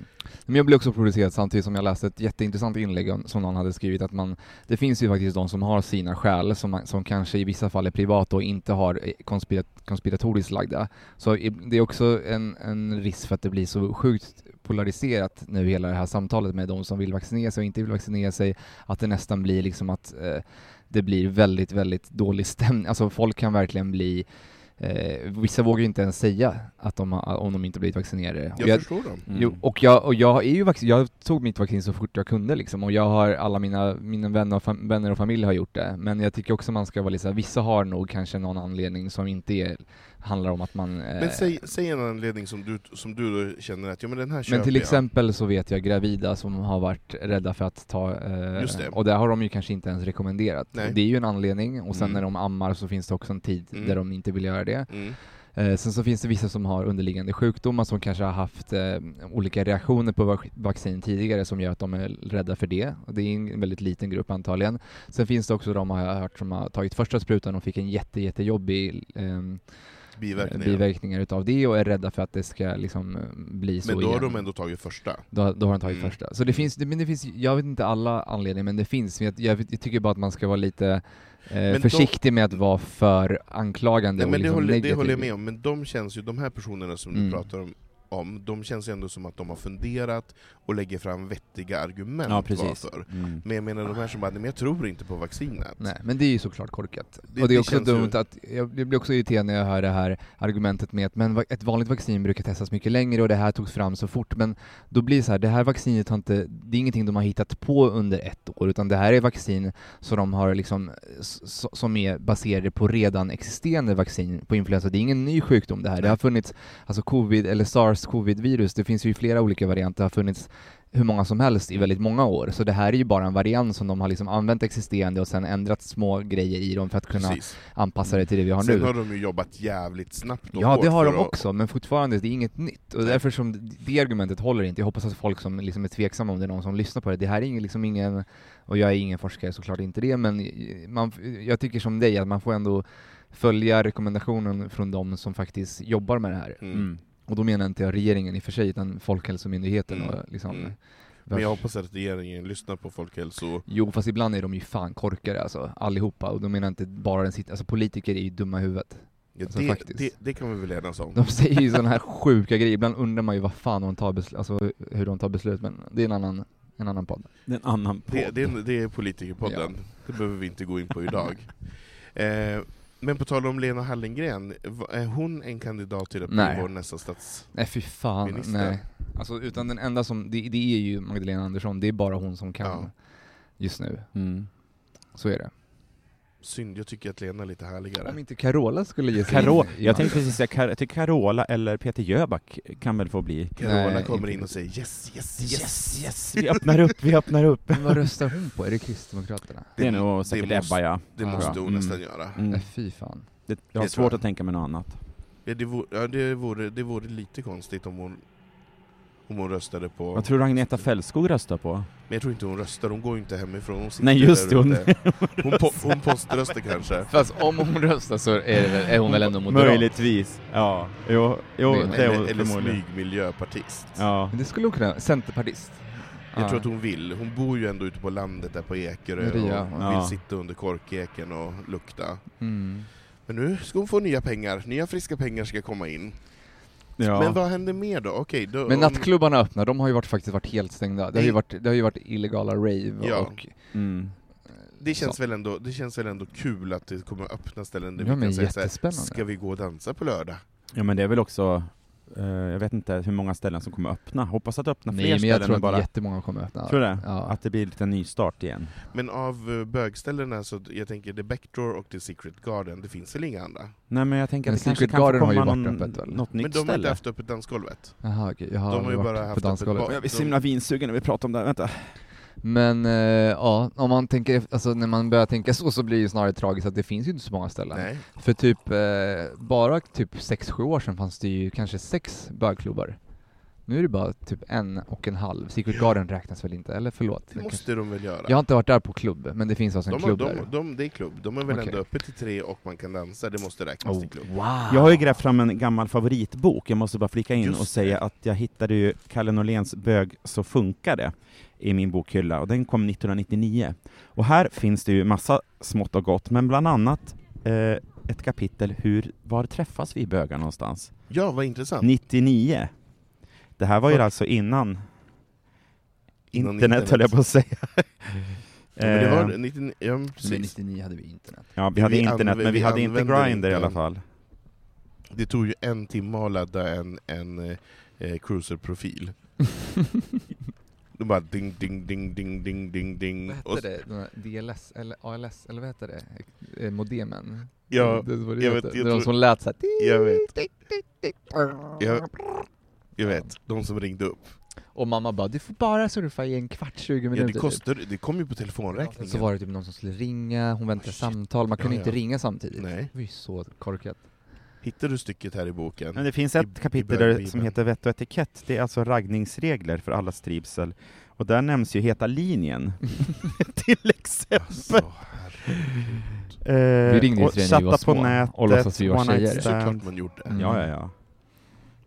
Speaker 2: Men jag blev också provocerad samtidigt som jag läste ett jätteintressant inlägg om, som någon hade skrivit att man, det finns ju faktiskt de som har sina skäl som, man- som kanske i vissa fall är privata och inte har eh, konspirat, konspiratoriskt lagda. Så i- det är också en, en risk för att det blir så sjukt polariserat nu hela det här samtalet med de som vill vaccinera sig och inte vill vaccinera sig, att det nästan blir liksom att eh, det blir väldigt, väldigt dålig stämning. Alltså folk kan verkligen bli Eh, vissa vågar ju inte ens säga att de, har- om de inte blivit vaccinerade. Och
Speaker 1: Jag,
Speaker 2: jag-
Speaker 1: förstår dem.
Speaker 2: Mm.
Speaker 3: Mm.
Speaker 2: Jo, och jag, och jag, är ju vaccin, jag tog mitt vaccin så fort jag kunde liksom, och jag har, alla mina, mina vänner, och fam, vänner och familj har gjort det. Men jag tycker också man ska vara lite så här, vissa har nog kanske någon anledning som inte är, handlar om att man... eh,
Speaker 1: Men säg, säg en anledning som du, som du då känner att ja, men den här köper
Speaker 2: men till
Speaker 1: jag.
Speaker 2: exempel så vet jag gravida som har varit rädda för att ta, eh,
Speaker 1: Just det.
Speaker 2: och det har de ju kanske inte ens rekommenderat.
Speaker 1: Nej.
Speaker 2: Det är ju en anledning, och sen
Speaker 1: Mm.
Speaker 2: när de ammar så finns det också en tid
Speaker 1: Mm.
Speaker 2: där de inte vill göra det.
Speaker 1: Mm.
Speaker 2: Eh, sen så finns det vissa som har underliggande sjukdomar som kanske har haft eh, olika reaktioner på vac- vaccin tidigare som gör att de är rädda för det. Och det är en väldigt liten grupp antagligen. Sen finns det också de har jag hört som har tagit första sprutan och fick en jätte, jättejobbig ehm,
Speaker 1: Biverkningar.
Speaker 2: biverkningar utav det och är rädda för att det ska liksom eh, bli så
Speaker 1: Men då
Speaker 2: igen.
Speaker 1: har de ändå tagit första.
Speaker 2: Då, då har han tagit
Speaker 1: Mm.
Speaker 2: första. Så det finns, det, men det finns, jag vet inte alla anledningar, men det finns. Men Jag, jag, vet- jag tycker bara att man ska vara lite eh,
Speaker 1: då-
Speaker 2: försiktig med att vara för anklagande
Speaker 1: Nej,
Speaker 2: och
Speaker 1: men det,
Speaker 2: liksom
Speaker 1: håller, det
Speaker 2: negativ.
Speaker 1: håller jag med om, men de känns ju, de här personerna som du
Speaker 2: Mm.
Speaker 1: pratar om, om, de känns ju ändå som att de har funderat och lägger fram vettiga argument
Speaker 3: Ja, precis.
Speaker 1: varför.
Speaker 3: Mm.
Speaker 1: Men jag menar de här som bara, "Nej, men jag tror inte på vaccinet.
Speaker 2: Nej, men det är ju såklart korkat.
Speaker 1: Det-
Speaker 2: och det
Speaker 1: det
Speaker 2: är också
Speaker 1: känns ju-
Speaker 2: dumt att, jag jag blir också irriterad när jag hör det här argumentet med att men va- ett vanligt vaccin brukar testas mycket längre och det här togs fram så fort, men då blir det så här, det här vaccinet har inte, det är ingenting de har hittat på under ett år, utan det här är vaccin som de har liksom, s- s- som är baserade på redan existerande vaccin på influensa. Det är ingen ny sjukdom det här. Det har funnits, alltså covid eller sars covid-virus, det finns ju flera olika varianter, det har funnits hur många som helst i väldigt många år. Så det här är ju bara en variant som de har liksom använt existerande och sen ändrat små grejer i dem för att kunna
Speaker 1: Precis.
Speaker 2: anpassa det till det vi har
Speaker 1: Sen
Speaker 2: nu.
Speaker 1: har de ju jobbat jävligt snabbt och
Speaker 2: Ja,
Speaker 1: hårt
Speaker 2: det har
Speaker 1: för
Speaker 2: de
Speaker 1: att-
Speaker 2: också, men fortfarande, det är inget nytt. Och därför som d- det argumentet håller inte. Jag hoppas att folk som liksom är tveksamma, om det är någon som lyssnar på det, det här är ingen, liksom ingen, och jag är ingen forskare såklart inte det, men man, jag tycker som dig att man får ändå följa rekommendationen från de som faktiskt jobbar med det här.
Speaker 1: Mm.
Speaker 3: Mm.
Speaker 2: Och då menar inte jag regeringen i och för sig, utan Folkhälsomyndigheten och liksom...
Speaker 1: Mm. Men jag hoppas att regeringen lyssnar på folkhälso...
Speaker 2: Jo, fast ibland är de ju fan korkade alltså, allihopa. Och då menar jag inte bara den sittande, alltså politiker är ju dumma i huvudet.
Speaker 1: Ja,
Speaker 2: Alltså,
Speaker 1: det,
Speaker 2: faktiskt.
Speaker 1: det, det kan vi väl enas om?
Speaker 2: De säger ju sådana här sjuka grejer, ibland undrar man ju vad fan de tar beslut, alltså hur de tar beslut, men det är en annan, en annan podd.
Speaker 3: Det är en annan podd.
Speaker 1: Det, det, är- det är Politikerpodden, det behöver vi inte gå in på idag. eh, men på tal om Lena Hallengren, va- är hon en kandidat till att bli
Speaker 2: Nej.
Speaker 1: vår nästa stats...
Speaker 2: Nej fy fan,
Speaker 1: Minister.
Speaker 2: nej. Alltså utan den enda som, det, det är ju Magdalena Andersson, det är bara hon som kan
Speaker 1: Ja.
Speaker 2: just nu.
Speaker 3: Mm.
Speaker 2: Så är det.
Speaker 1: Synd, jag tycker att Lena är lite härligare.
Speaker 2: Om inte Carola skulle ge sig
Speaker 3: Caro-
Speaker 2: in i-
Speaker 3: jag tänkte precis säga, Car- jag tycker Carola eller Peter Jöback kan väl få bli
Speaker 1: Carola
Speaker 2: Nej,
Speaker 1: kommer
Speaker 2: inte
Speaker 1: in och säger yes, yes, yes!
Speaker 3: Yes, yes! Vi öppnar upp, vi öppnar upp!
Speaker 2: Men vad röstar hon på? Är det Kristdemokraterna?
Speaker 3: Det är nog säkert
Speaker 1: det måste,
Speaker 3: Ebba ja.
Speaker 1: Det
Speaker 2: Ja.
Speaker 1: måste hon
Speaker 3: Mm.
Speaker 1: nästan göra.
Speaker 3: Mm.
Speaker 2: Nej fy fan.
Speaker 3: Det, jag har
Speaker 1: Det tror
Speaker 3: svårt
Speaker 1: jag.
Speaker 3: att tänka mig något annat.
Speaker 1: Ja, det, vore, ja, det, vore, det vore lite konstigt om hon, om hon röstade på...
Speaker 3: Vad tror du Agneta Fällskog röstar på?
Speaker 1: Men jag tror inte hon röstar, hon går ju inte hemifrån. Hon sitter
Speaker 3: Nej just det,
Speaker 1: där
Speaker 3: hon,
Speaker 1: ute. Hon, po hon poströstar kanske.
Speaker 2: Fast om hon röstar så är, hon väl ändå moderat?
Speaker 3: Möjligtvis. Ja, jo, jo
Speaker 2: Men-
Speaker 3: det är
Speaker 1: Eller,
Speaker 3: hon
Speaker 1: eller
Speaker 3: förmodligen.
Speaker 1: smygmiljöpartist.
Speaker 3: Ja.
Speaker 2: Men det skulle hon kunna, centerpartist.
Speaker 1: Jag
Speaker 2: Ja.
Speaker 1: tror att hon vill. Hon bor ju ändå ute på landet där på Ekerö och
Speaker 2: Maria,
Speaker 1: vill
Speaker 3: ja.
Speaker 1: sitta under korkeken och lukta.
Speaker 2: Mm.
Speaker 1: Men nu ska hon få nya pengar. Nya friska pengar ska komma in.
Speaker 3: ja.
Speaker 1: Men vad händer mer då? Okej, då
Speaker 2: Men
Speaker 1: om-
Speaker 2: nattklubbarna öppnar, de har ju varit, faktiskt varit helt stängda. Det har ju
Speaker 1: Nej.
Speaker 2: varit, det har ju varit illegala rave
Speaker 1: Ja.
Speaker 2: och...
Speaker 3: Mm.
Speaker 1: det, känns
Speaker 2: så.
Speaker 1: väl ändå, det känns väl ändå kul att det kommer att öppna ställen där
Speaker 2: Ja
Speaker 1: vi
Speaker 2: men
Speaker 1: kan säga så här,
Speaker 2: jättespännande.
Speaker 1: ska vi gå och dansa på lördag?
Speaker 3: ja men det är väl också Eh, jag vet inte hur många ställen som kommer öppna. Hoppas att det öppnar fler
Speaker 2: Nej men
Speaker 3: ställen
Speaker 2: jag tror
Speaker 3: än
Speaker 2: att
Speaker 3: bara...
Speaker 2: jättemånga kommer öppna.
Speaker 3: Tror du det?
Speaker 2: Ja.
Speaker 3: Att det blir lite nystart igen.
Speaker 1: Men av eh, bögställena, så jag tänker The Backdoor och The Secret Garden, det finns väl inga andra?
Speaker 3: Nej men jag tänker
Speaker 2: Men
Speaker 3: att det kanske
Speaker 2: Secret
Speaker 3: kan få
Speaker 2: Garden har ju
Speaker 3: komma
Speaker 2: varit
Speaker 3: någon,
Speaker 2: öppet, väl?
Speaker 3: något nytt
Speaker 1: Men de har
Speaker 3: ställe.
Speaker 1: inte haft öppet dansgolvet?
Speaker 2: Jaha, okej. Jag har,
Speaker 1: De har ju
Speaker 2: aldrig
Speaker 1: bara
Speaker 2: varit
Speaker 1: haft
Speaker 2: på
Speaker 1: öppet
Speaker 2: dansgolvet.
Speaker 1: bar.
Speaker 3: Jag blir så himla vinsugen när vi pratar om det här, vänta.
Speaker 2: Men eh, ja, om man tänker, ef- alltså när man börjar tänka så, så blir det ju snarare tragiskt att det finns ju inte så många ställen.
Speaker 1: Nej.
Speaker 2: För typ, eh, bara typ 6-7 år sedan fanns det ju kanske sex bögklubbar. Nu är det bara typ en och en halv. Secret Garden räknas väl inte, eller förlåt?
Speaker 1: Det
Speaker 2: Jag kanske-
Speaker 1: måste de väl göra?
Speaker 2: Jag har inte varit där på klubb, men det finns alltså en
Speaker 1: de, har,
Speaker 2: klubb
Speaker 1: de,
Speaker 2: där.
Speaker 1: de, det är klubb. De är väl
Speaker 2: Okej.
Speaker 1: ändå öppet till tre och man kan dansa, det måste räknas till klubb.
Speaker 2: Wow!
Speaker 3: Jag har ju grävt fram en gammal favoritbok, jag måste bara flika in
Speaker 1: Ah. Just
Speaker 3: och säga att jag hittade ju Kalle Norléns Bög så funkar det i min bokhylla och den kom 1999. Och här finns det ju massa smått och gott, men bland annat eh, ett kapitel hur, var träffas vi bögar någonstans?
Speaker 1: Ja, vad intressant.
Speaker 3: 99. Det här var ju
Speaker 1: Fuck.
Speaker 3: alltså innan
Speaker 1: Innan
Speaker 3: internet, höll jag på att säga.
Speaker 1: Ja, men det var,
Speaker 3: Eh,
Speaker 1: 90, ja, men
Speaker 2: Men
Speaker 1: precis.
Speaker 2: 99 hade vi internet.
Speaker 3: ja, vi
Speaker 1: vi
Speaker 3: hade internet,
Speaker 1: använde-
Speaker 3: men vi,
Speaker 1: vi
Speaker 3: hade inte
Speaker 1: använde
Speaker 3: Grindr i alla
Speaker 1: inte-
Speaker 3: fall.
Speaker 1: Det tog ju en timme att ladda en, en eh, eh, cruiserprofil. De bara ding, ding, ding, ding, ding, ding, ding.
Speaker 2: Vad hette
Speaker 1: Och-
Speaker 2: det? Den här DLS, eller ALS, eller vad hette det? Eh, Modemen?
Speaker 1: Ja,
Speaker 2: det var det
Speaker 1: jag
Speaker 2: hette.
Speaker 1: vet,
Speaker 2: det
Speaker 1: jag
Speaker 2: var de
Speaker 1: tror-
Speaker 2: som lät såhär...
Speaker 1: jag vet. Jag, jag vet, de som ringde upp.
Speaker 2: Och mamma bara, du får bara surfa i en kvart, 20
Speaker 1: Ja,
Speaker 2: minuter.
Speaker 1: det,
Speaker 2: typ."
Speaker 1: kostade, det kom ju på
Speaker 2: Sen
Speaker 1: telefonräkningen.
Speaker 2: Så var det typ någon som skulle ringa, hon väntade
Speaker 1: Oh, shit.
Speaker 2: samtal, man kunde
Speaker 1: Ja,
Speaker 2: inte
Speaker 1: ja.
Speaker 2: ringa samtidigt.
Speaker 1: Nej.
Speaker 2: Det var ju så korkat.
Speaker 1: Hittar du stycket här i boken?
Speaker 3: Men det finns
Speaker 1: I-
Speaker 3: ett
Speaker 1: i
Speaker 3: kapitel där,
Speaker 1: Bibeln.
Speaker 3: som heter Vett och etikett. Det är alltså raggningsregler för alla trivsel. Och där nämns ju heta linjen. Till exempel.
Speaker 1: Alltså, herregud.
Speaker 3: Eh,
Speaker 2: Vi ringde ju
Speaker 3: och
Speaker 2: till dig när vi
Speaker 3: chatta
Speaker 2: var små
Speaker 3: på nätet.
Speaker 2: och låtsas vi var
Speaker 3: one night
Speaker 2: tjejer.
Speaker 1: Såklart
Speaker 3: stand.
Speaker 1: man gjorde.
Speaker 2: Mm.
Speaker 3: Ja, ja, ja.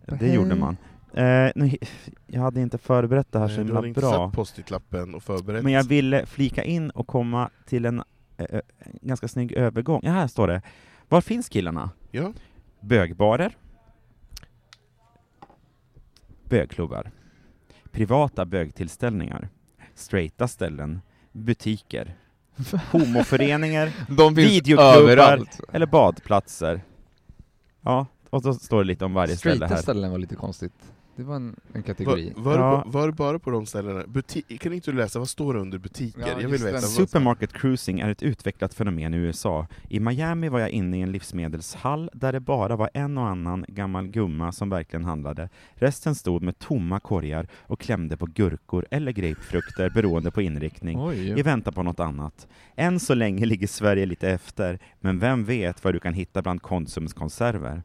Speaker 2: Vad
Speaker 3: Det gjorde
Speaker 2: hej.
Speaker 3: man. Eh, nu, jag hade inte förberett det här så
Speaker 1: Nej, Eh, du
Speaker 3: himla
Speaker 1: hade inte
Speaker 3: bra.
Speaker 1: satt post-it-lappen och förberett.
Speaker 3: Men jag ville flika in och komma till en eh, eh, ganska snygg övergång. Ja, här står det. Var finns killarna?
Speaker 1: Ja.
Speaker 3: Bögbarer. Bögklubbar. Privata bögtillställningar. Straighta ställen. Butiker. Homoföreningar.
Speaker 2: De
Speaker 3: finns Videoklubbar. överallt. eller badplatser. Ja, och så står det lite om varje ställe
Speaker 2: Straighta
Speaker 3: här.
Speaker 2: ställen var lite konstigt. Det var en, en kategori.
Speaker 1: Var, var,
Speaker 3: Ja.
Speaker 1: det, ba- var det bara på de ställena? Buti- kan inte du läsa, vad står det under butiker?
Speaker 2: Ja,
Speaker 1: jag vill
Speaker 2: just den.
Speaker 1: veta. Vad...
Speaker 3: Supermarket cruising är ett utvecklat fenomen i USA. I Miami var jag inne i en livsmedelshall där det bara var en och annan gammal gumma som verkligen handlade. Resten stod med tomma korgar och klämde på gurkor eller grapefrukter beroende på inriktning.
Speaker 2: Oj.
Speaker 3: I väntan på något annat. Än så länge ligger Sverige lite efter, men vem vet vad du kan hitta bland Konsums konserver?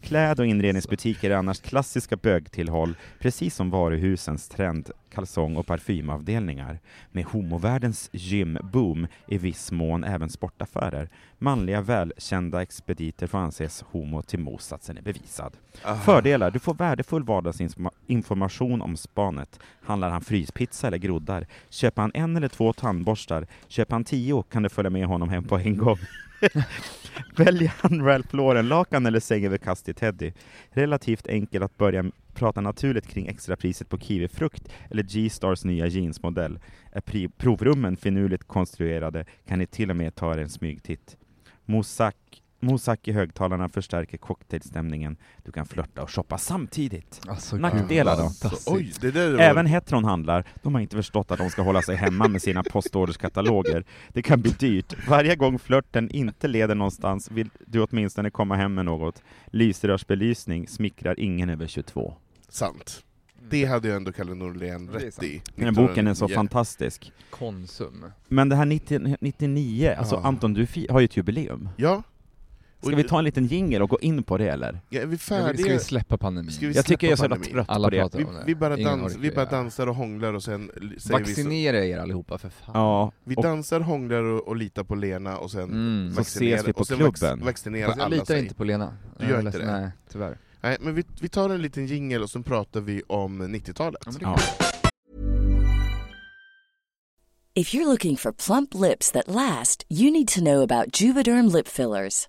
Speaker 3: Kläd och inredningsbutiker är annars klassiska bögtillhåll, precis som varuhusens trend, kalsong och parfymavdelningar. Med homovärldens gymboom i viss mån även sportaffärer. Manliga välkända expediter får anses homo till motsatsen är bevisad. Fördelar, du får värdefull vardagsinformation om spanet. Handlar han fryspizza eller groddar? Köper han en eller två tandborstar? Köper han tio kan du följa med honom hem på en gång. Väljer han Ralph Lauren-lakan eller sängöverkastig teddy? Relativt enkel att börja prata naturligt kring extrapriset på kiwifrukt eller G-Stars nya jeansmodell. Är pri- provrummen finurligt konstruerade kan ni till och med ta er en smygtitt. Mosak, mosak i högtalarna förstärker cocktailstämningen. Du kan flörta och shoppa samtidigt.
Speaker 2: Alltså,
Speaker 3: Nackdelar då?
Speaker 2: gud, alltså, vad
Speaker 1: Så, Alltså, oj,
Speaker 2: fantastiskt.
Speaker 1: det där var...
Speaker 3: Även heteronhandlar, de har inte förstått att de ska hålla sig hemma med sina postorderskataloger. Det kan bli dyrt. Varje gång flörten inte leder någonstans vill du åtminstone komma hem med något. Lysrörsbelysning smickrar ingen över 22.
Speaker 1: Sant. Det hade jag ändå Kalle Norlén
Speaker 2: Mm. Det är
Speaker 1: rätt
Speaker 2: sant.
Speaker 1: i.
Speaker 3: Den här boken är så
Speaker 1: 1999.
Speaker 3: fantastisk.
Speaker 2: Konsum.
Speaker 3: Men det här 90, 99, alltså
Speaker 1: Ja.
Speaker 3: Anton du fi- har ju ett jubileum.
Speaker 1: Ja. Och
Speaker 3: Ska vi ta en liten jingle och gå in på det eller?
Speaker 1: Ja, är vi
Speaker 2: Jag vill, ska
Speaker 1: färdiga?
Speaker 2: vi släppa pandemin?
Speaker 1: Ska vi
Speaker 3: Jag tycker jag är så jävla
Speaker 1: släppa
Speaker 3: trött
Speaker 2: Alla
Speaker 3: på det.
Speaker 2: pratar
Speaker 1: vi,
Speaker 2: om det.
Speaker 1: vi, bara
Speaker 2: Ingen
Speaker 1: dans,
Speaker 2: orkar
Speaker 1: vi bara
Speaker 2: göra det.
Speaker 1: dansar och hånglar och sen l- säger vi så.
Speaker 2: Vaccinera er allihopa för fan.
Speaker 3: Ja,
Speaker 1: Vi
Speaker 3: och
Speaker 1: dansar, hånglar och, och litar på Lena och sen
Speaker 2: Mm.
Speaker 3: Så
Speaker 1: vaccinerar-
Speaker 3: ses vi på
Speaker 1: och sen vac-
Speaker 3: klubben.
Speaker 1: vaccinerar
Speaker 2: Fast jag
Speaker 1: alla
Speaker 2: litar
Speaker 1: sig.
Speaker 2: inte på Lena.
Speaker 1: Du gör
Speaker 2: Jag är
Speaker 1: inte
Speaker 2: ledsen.
Speaker 1: det?
Speaker 2: Nej, tyvärr.
Speaker 1: Nej, men vi, vi tar en liten jingel och sen pratar vi om 90-talet.
Speaker 2: Ja, men det-
Speaker 3: ja.
Speaker 4: If you're looking for plump lips that last, you need to know about Juvederm lip fillers.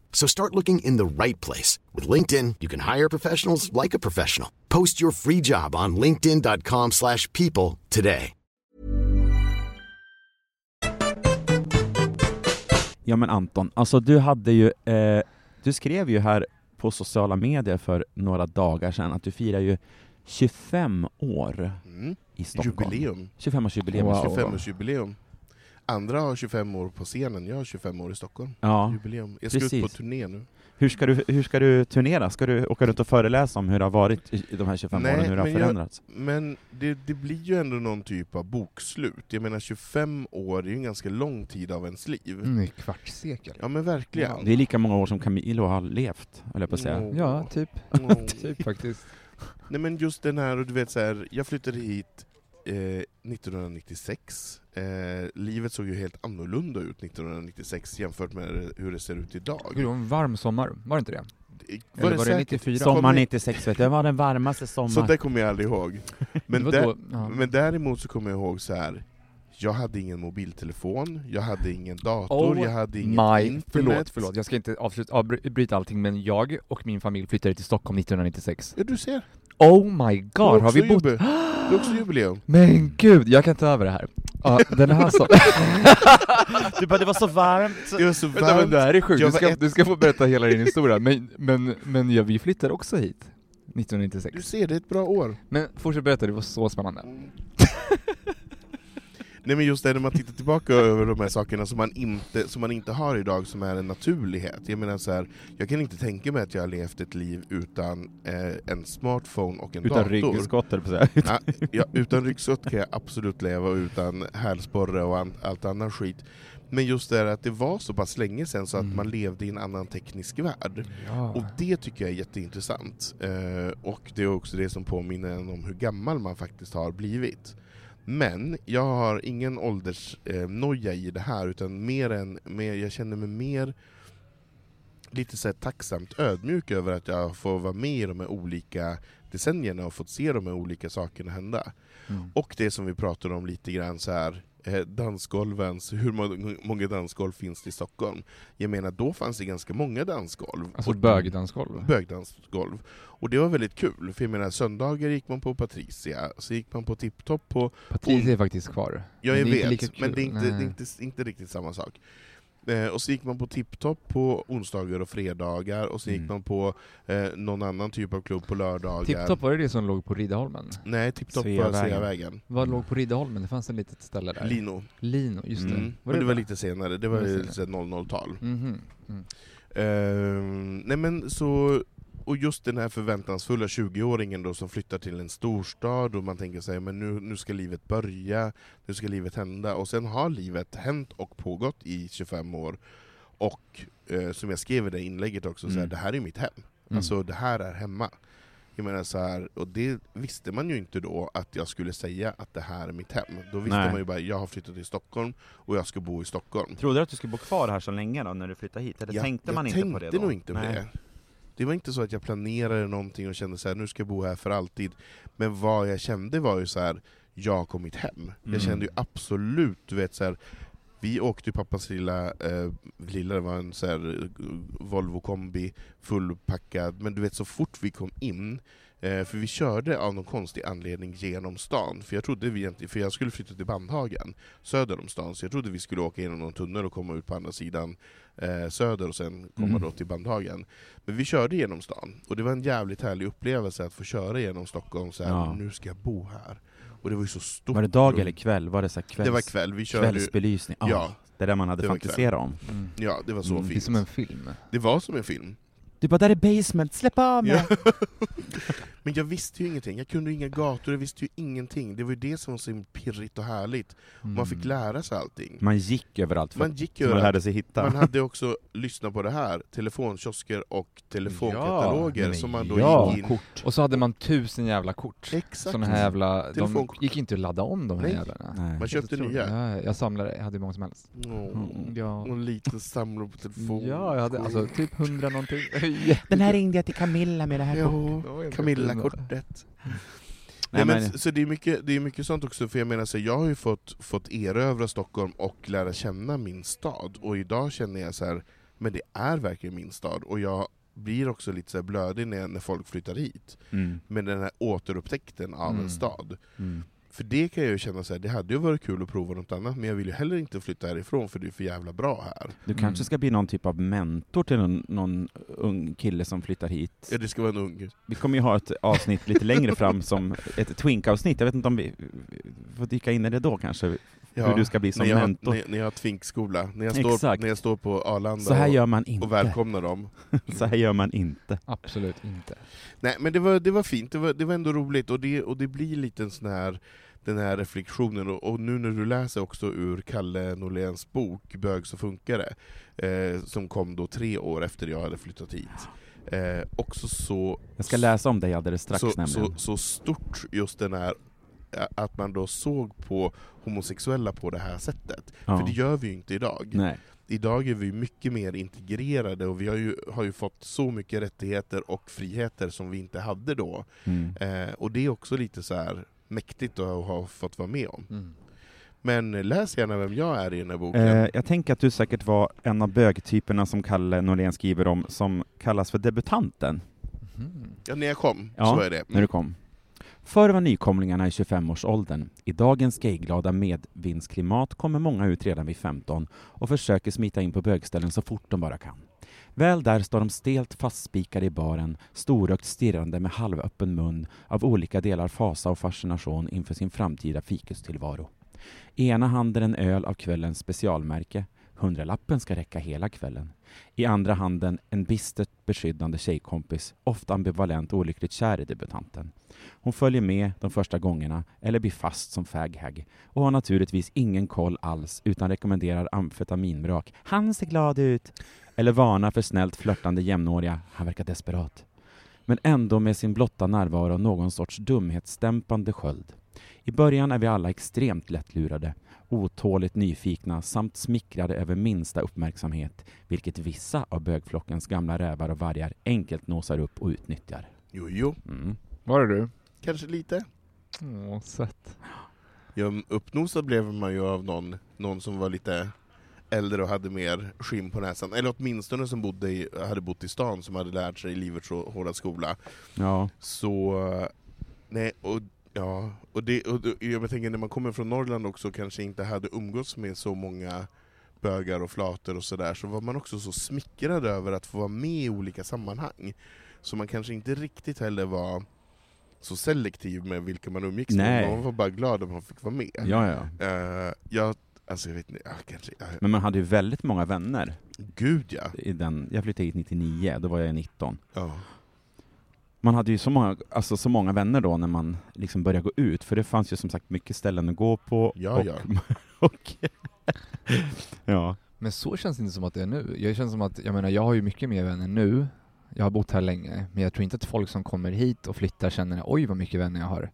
Speaker 5: So start looking in the right place. With LinkedIn, you can hire professionals like a professional. Post your free job on linkedin.com/people slash people today.
Speaker 3: Ja men Anton, alltså du hade ju, eh, du skrev ju här på sociala medier för några dagar sedan att du firar ju 25 år
Speaker 1: Mm.
Speaker 3: i Stockholm.
Speaker 1: Jubileum.
Speaker 3: 25-årsjubileum
Speaker 2: Wow.
Speaker 3: i Stockholm.
Speaker 1: 25-årsjubileum. Andra har 25 år på scenen, jag har 25 år i Stockholm.
Speaker 3: Ja.
Speaker 1: Jubileum. Jag ska ut
Speaker 3: Precis.
Speaker 1: på turné nu.
Speaker 3: Hur ska, du, hur ska du turnera? Ska du åka runt och föreläsa om hur det har varit i de här 25
Speaker 1: Nej,
Speaker 3: åren, hur det har
Speaker 1: men jag-
Speaker 3: förändrats?
Speaker 1: Men det, det blir ju ändå någon typ av bokslut. Jag menar 25 år är ju en ganska lång tid av ens liv.
Speaker 2: Mm, ett kvartssekel.
Speaker 1: Ja men verkligen.
Speaker 3: Det är lika många år som Camilo har levt, höll jag på att säga.
Speaker 1: Åh.
Speaker 2: Ja, typ.
Speaker 1: Åh.
Speaker 2: Typ faktiskt.
Speaker 1: Nej men just den här, och du vet så här, jag flyttade hit eh, 1996. Eh, livet såg ju helt annorlunda ut 1996 jämfört med hur det ser ut idag.
Speaker 2: Gud, det var en varm sommar, var det inte det?
Speaker 1: Var
Speaker 2: Eller var det
Speaker 1: säkert?
Speaker 2: 94?
Speaker 3: Sommar
Speaker 1: Kom i-
Speaker 3: 96 vet du, det var den varmaste
Speaker 1: Sånt
Speaker 3: sommaren.
Speaker 1: där kommer jag aldrig ihåg. Men,
Speaker 2: det var
Speaker 1: där,
Speaker 2: då, ja.
Speaker 1: men däremot så kommer jag ihåg så här. jag hade ingen mobiltelefon, jag hade ingen dator,
Speaker 2: Oh
Speaker 1: jag hade inget
Speaker 2: Maj,
Speaker 1: internet.
Speaker 2: förlåt, förlåt. Jag ska inte avsluta, avbryta allting, men jag och min familj flyttade till Stockholm 1996.
Speaker 1: Ja du ser,
Speaker 2: Oh my
Speaker 1: det är
Speaker 2: god, har
Speaker 1: också
Speaker 2: vi bott...
Speaker 1: jubi- det är också jubileum.
Speaker 2: Men gud, jag kan ta över det här. Ja, den här så...
Speaker 3: Du bara, det var så varmt!
Speaker 1: Det var så
Speaker 2: Vänta, men det
Speaker 1: varmt.
Speaker 2: här är sjukt,
Speaker 1: Jag
Speaker 2: du
Speaker 1: var
Speaker 2: ska,
Speaker 1: ett-
Speaker 2: du ska få berätta hela din historia. Men, men, men ja, vi flyttade också hit.
Speaker 1: Du
Speaker 2: 1996.
Speaker 1: ser, det är ett bra år.
Speaker 2: Men fortsätt berätta, det var så spännande.
Speaker 1: Nej men just det, när man tittar tillbaka över de här sakerna som man inte, som man inte har idag, som är en naturlighet. Jag menar så här, jag kan inte tänka mig att jag har levt ett liv utan eh, en smartphone och en
Speaker 3: Utan
Speaker 1: dator.
Speaker 3: ryggskott höll jag på att säga.
Speaker 1: Ja, ja, utan ryggsäck kan jag absolut leva, och utan hälsporre och an, allt annat skit. Men just det här att det var så pass länge sedan så att man levde i en annan teknisk värld. Och det tycker jag är jätteintressant. Eh, och det är också det som påminner en om hur gammal man faktiskt har blivit. Men jag har ingen åldersnoja eh, noja i det här, utan mer än, mer, jag känner mig mer lite så här tacksamt ödmjuk över att jag får vara med i de här olika decennierna och fått se de här olika sakerna hända.
Speaker 2: Mm.
Speaker 1: Och det som vi pratade om lite grann så här eh, dansgolvens, hur må- många dansgolv finns det i Stockholm? Jag menar, då fanns det ganska många dansgolv.
Speaker 2: Alltså
Speaker 1: Och-
Speaker 2: bögdansgolv.
Speaker 1: bögdansgolv. Och det var väldigt kul, för jag menar söndagar gick man på Patricia, så gick man på Tipptopp på
Speaker 2: Patrice är faktiskt kvar.
Speaker 1: Ja,
Speaker 2: Men
Speaker 1: jag
Speaker 2: det är inte
Speaker 1: vet,
Speaker 2: lika kul.
Speaker 1: men det är, inte, det är
Speaker 2: Nej.
Speaker 1: inte, inte riktigt samma sak. Eh, och så gick man på Tipptopp på onsdagar och fredagar, och så gick
Speaker 3: Mm.
Speaker 1: man på eh, någon annan typ av klubb på lördagar.
Speaker 2: Tipptopp, var det det som låg på Riddarholmen?
Speaker 1: Nej, Tipptopp var
Speaker 3: Sveavägen.
Speaker 1: Sveavägen.
Speaker 2: Vad låg på Riddarholmen? Det fanns en litet ställe där.
Speaker 1: Lino.
Speaker 2: Lino, just det.
Speaker 1: Mm.
Speaker 2: Var
Speaker 1: men det var
Speaker 2: det? Mhm.
Speaker 1: lite senare, det var
Speaker 2: Det var
Speaker 1: ju
Speaker 2: senare.
Speaker 1: lite 00-tal.
Speaker 2: Mhm. Mm.
Speaker 1: Ehm, nej men så... och och just den här förväntansfulla 20-åringen då som flyttar till en storstad och man tänker sig men nu, nu ska livet börja, nu ska livet hända. Och sen har livet hänt och pågått i 25 år. Och eh, som jag skrev i det inlägget också, så här,
Speaker 3: Mm.
Speaker 1: det här är mitt hem. Alltså det här är hemma. Jag menar så här, och det visste man ju inte då att jag skulle säga att det här är mitt hem. Då visste
Speaker 3: Nej.
Speaker 1: man ju bara, jag har flyttat till Stockholm och jag ska bo i Stockholm.
Speaker 3: Trodde du att du skulle bo kvar här så länge då, när du flyttade hit? Eller
Speaker 1: Jag-
Speaker 3: tänkte man
Speaker 1: jag
Speaker 3: inte på det då?
Speaker 1: tänkte nog inte på
Speaker 3: Nej.
Speaker 1: det. Det var inte så att jag planerade någonting och kände så här, nu ska jag bo här för alltid. Men vad jag kände var ju så här, jag har kommit hem.
Speaker 3: Mm.
Speaker 1: Jag kände ju absolut, du vet så här, vi åkte ju pappas lilla, eh, lilla det var en så här, eh, Volvo kombi, fullpackad, men du vet så fort vi kom in, eh, för vi körde av någon konstig anledning genom stan, för jag trodde vi egentligen, för jag skulle flytta till Bandhagen, söder om stan, så jag trodde vi skulle åka genom någon tunnel och komma ut på andra sidan eh, söder och sen komma
Speaker 2: Mm.
Speaker 1: då till Bandhagen. Men vi körde genom stan, och det var en jävligt härlig upplevelse att få köra genom Stockholm så här,
Speaker 3: Ja.
Speaker 1: nu ska jag bo här. Och det var ju så stort.
Speaker 3: Var det dag
Speaker 1: och-
Speaker 3: eller kväll? Var det så här kvälls...
Speaker 1: Det var kväll, vi körde ju-
Speaker 3: kvällsbelysning? Ah,
Speaker 1: Ja.
Speaker 3: Det där man hade
Speaker 1: Det var
Speaker 3: fantiserat om.
Speaker 2: Mm.
Speaker 1: Ja, det var så
Speaker 3: Mm,
Speaker 2: Det är
Speaker 1: fint.
Speaker 2: som en film.
Speaker 1: Det var som en film.
Speaker 3: Du bara, där är basement, släpp av mig!
Speaker 1: Ja. Men jag visste ju ingenting, jag kunde ju inga gator, jag visste ju ingenting. Det var ju det som var så pirrigt och härligt. Man
Speaker 2: Mm.
Speaker 1: fick lära sig allting.
Speaker 3: Man gick överallt Mm. för
Speaker 1: Man gick ju
Speaker 3: man
Speaker 1: överallt.
Speaker 3: lärde sig hitta.
Speaker 1: Man hade också, lyssna på det här, telefonkiosker och telefonkataloger
Speaker 2: Ja, men
Speaker 1: som man då
Speaker 2: ja.
Speaker 1: gick in... Kort.
Speaker 2: Och så hade man tusen jävla kort.
Speaker 1: Exakt.
Speaker 2: Såna här jävla, de
Speaker 1: Telefonkort.
Speaker 2: gick inte att ladda om de här
Speaker 1: Nej.
Speaker 2: jävlarna.
Speaker 3: Nej.
Speaker 1: Man köpte
Speaker 2: Helt
Speaker 1: nya. Mm.
Speaker 2: otroligt. Ja, jag samlade, jag hade hur många som helst.
Speaker 1: Åh,
Speaker 2: Ja.
Speaker 1: Och lite samlar på telefon.
Speaker 2: Ja, jag hade alltså typ hundra någonting.
Speaker 3: Den här ringde jag till Camilla med det här
Speaker 1: Ja, Camilla-kortet. Nej, men,
Speaker 3: men-
Speaker 1: Så det är, mycket, det är mycket sånt också, för jag menar så här, jag har ju fått, fått erövra Stockholm och lära känna min stad, och idag känner jag så här, men det är verkligen min stad, och jag blir också lite så här blödig när, när folk flyttar hit,
Speaker 3: Mm.
Speaker 1: med den här återupptäckten av
Speaker 2: Mm.
Speaker 1: en stad.
Speaker 3: Mm.
Speaker 1: För det kan jag ju känna så här, det hade ju varit kul att prova något annat, men jag vill ju heller inte flytta härifrån för det är för jävla bra här.
Speaker 3: Du
Speaker 2: Mm.
Speaker 3: kanske ska bli någon typ av mentor till någon, någon ung kille som flyttar hit.
Speaker 1: Ja, det ska vara en ung...
Speaker 3: Vi kommer ju ha ett avsnitt lite längre fram som ett twink-avsnitt, jag vet inte om vi vi får dyka in i det då kanske,
Speaker 1: Ja,
Speaker 3: hur du ska bli som
Speaker 1: när jag,
Speaker 3: mentor.
Speaker 1: När, när jag har tvinkskola, när jag, står,
Speaker 3: Exakt.
Speaker 1: när jag står på Arlanda
Speaker 3: Så här
Speaker 1: och,
Speaker 3: gör man
Speaker 1: och
Speaker 3: inte.
Speaker 1: välkomnar dem.
Speaker 3: Så här gör man inte.
Speaker 2: Absolut inte.
Speaker 1: Nej men det var, det var fint, det var, det var ändå roligt, och det, och det blir lite en sån här den här reflektionen, och, och nu när du läser också ur Kalle Norléns bok Bög så funkar det, eh, som kom då tre år efter jag hade flyttat hit. Eh, också så,
Speaker 3: Jag ska läsa om dig alldeles strax
Speaker 1: så, så,
Speaker 3: nämligen.
Speaker 1: så stort just den här eh, att man då såg på homosexuella på det här sättet.
Speaker 3: Ja.
Speaker 1: För det gör vi ju inte idag.
Speaker 3: Nej.
Speaker 1: Idag är vi mycket mer integrerade och vi har ju, har ju fått så mycket rättigheter och friheter som vi inte hade då.
Speaker 3: Mm.
Speaker 1: Eh, och det är också lite så här mäktigt att ha fått vara med om.
Speaker 2: Mm.
Speaker 1: Men läs gärna vem jag är i den här boken.
Speaker 3: Eh, jag tänker att du säkert var en av bögtyperna som Kalle Norlén skriver om, som kallas för debutanten,
Speaker 2: Mhm.
Speaker 1: ja, när jag kom,
Speaker 3: Ja,
Speaker 1: så är det.
Speaker 3: när du kom. Förr var nykomlingarna i 25-årsåldern. I dagens gayglada medvindsklimat kommer många ut redan vid 15 och försöker smita in på bögställen så fort de bara kan. Väl där står de stelt fastspikade i baren, storögt stirrande med halvöppen mun av olika delar fasa och fascination inför sin framtida fikustillvaro. I ena handen en öl av kvällens specialmärke. Hundralappen ska räcka hela kvällen. I andra handen en bistert beskyddande tjejkompis, ofta ambivalent och olyckligt kär i debutanten. Hon följer med de första gångerna, eller blir fast som faghag och har naturligtvis ingen koll alls utan rekommenderar amfetaminvrak. Han ser glad ut! Eller varnar för snällt flörtande jämnåriga. Han verkar desperat. Men ändå med sin blotta närvaro någon sorts dumhetsstämpande sköld. I början är vi alla extremt lättlurade, otåligt nyfikna samt smickrade över minsta uppmärksamhet, vilket vissa av bögflockens gamla rävar och vargar enkelt nosar upp och utnyttjar.
Speaker 1: Jo, jo,
Speaker 3: Mm.
Speaker 2: Var det du?
Speaker 1: kanske lite.
Speaker 2: Åh, sött.
Speaker 1: Ja, uppnosad blev man ju av någon, någon som var lite äldre och hade mer skinn på näsan. Eller åtminstone som bodde i, hade bott i stan, som hade lärt sig livets hå- hårda skola.
Speaker 3: Ja.
Speaker 1: Så, nej, och ja, och det, och, och, jag tänker när man kommer från Norrland också kanske inte hade umgåtts med så många bögar och flator och sådär, så var man också så smickrad över att få vara med i olika sammanhang. Så man kanske inte riktigt heller var så selektiv med vilka man umgicks
Speaker 3: Nej.
Speaker 1: med, man var bara glad att man fick vara med.
Speaker 3: ja, ja.
Speaker 1: Eh, jag, alltså jag vet inte, jag kanske, jag,
Speaker 3: Men man hade ju väldigt många vänner.
Speaker 1: gud ja.
Speaker 3: I den, jag flyttade hit 99, då var jag 19.
Speaker 1: ja.
Speaker 3: man hade ju så många, alltså så många vänner då när man liksom började gå ut, för det fanns ju som sagt mycket ställen att gå på.
Speaker 1: Ja,
Speaker 3: och,
Speaker 1: ja.
Speaker 3: och, ja.
Speaker 2: Men så känns det inte som att det är nu. Jag känns som att, jag menar jag har ju mycket mer vänner nu. Jag har bott här länge, men jag tror inte att folk som kommer hit och flyttar känner oj vad mycket vänner jag har.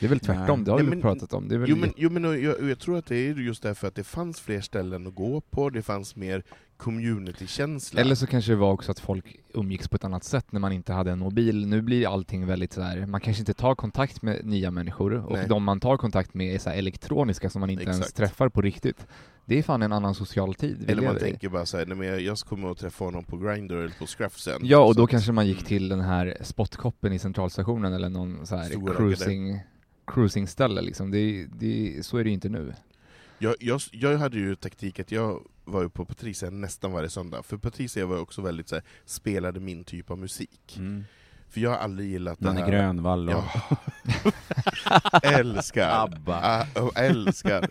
Speaker 2: Det är väl tvärtom,
Speaker 3: Nej.
Speaker 2: det har
Speaker 1: Nej,
Speaker 2: vi
Speaker 1: men-
Speaker 2: pratat om. Det är väl
Speaker 1: Jo men, jo, men och jag, och jag tror att det är just därför att det fanns fler ställen att gå på, det fanns mer communitykänsla.
Speaker 2: Eller så kanske det var också att folk umgicks på ett annat sätt när man inte hade en mobil. Nu blir allting väldigt så här. man kanske inte tar kontakt med nya människor och
Speaker 1: Nej.
Speaker 2: de man tar kontakt med är så här elektroniska som man inte ens
Speaker 1: Exakt.
Speaker 2: träffar på riktigt. Det är fan en annan social tid vi
Speaker 1: Eller man
Speaker 2: lever i.
Speaker 1: tänker bara såhär, nej men jag, jag kommer att träffa honom på Grindr eller på Mm. Scruff sen.
Speaker 2: Ja, och
Speaker 1: Så
Speaker 2: då
Speaker 1: att-
Speaker 2: kanske man gick till den här spotkoppen i centralstationen eller någon så
Speaker 1: Stora
Speaker 2: här cruising, cruisingställe liksom. Det, det, så är det ju inte nu.
Speaker 1: Jag, jag, jag hade ju taktik att jag var ju på Patricia nästan varje söndag, för Patricia var ju också väldigt såhär, spelade min typ av musik.
Speaker 3: Mm.
Speaker 1: För jag har aldrig gillat det
Speaker 3: Nanne
Speaker 1: här...
Speaker 3: Grönvall och...
Speaker 1: Ja. älskar!
Speaker 3: ABBA.
Speaker 1: Ah, oh, älskar!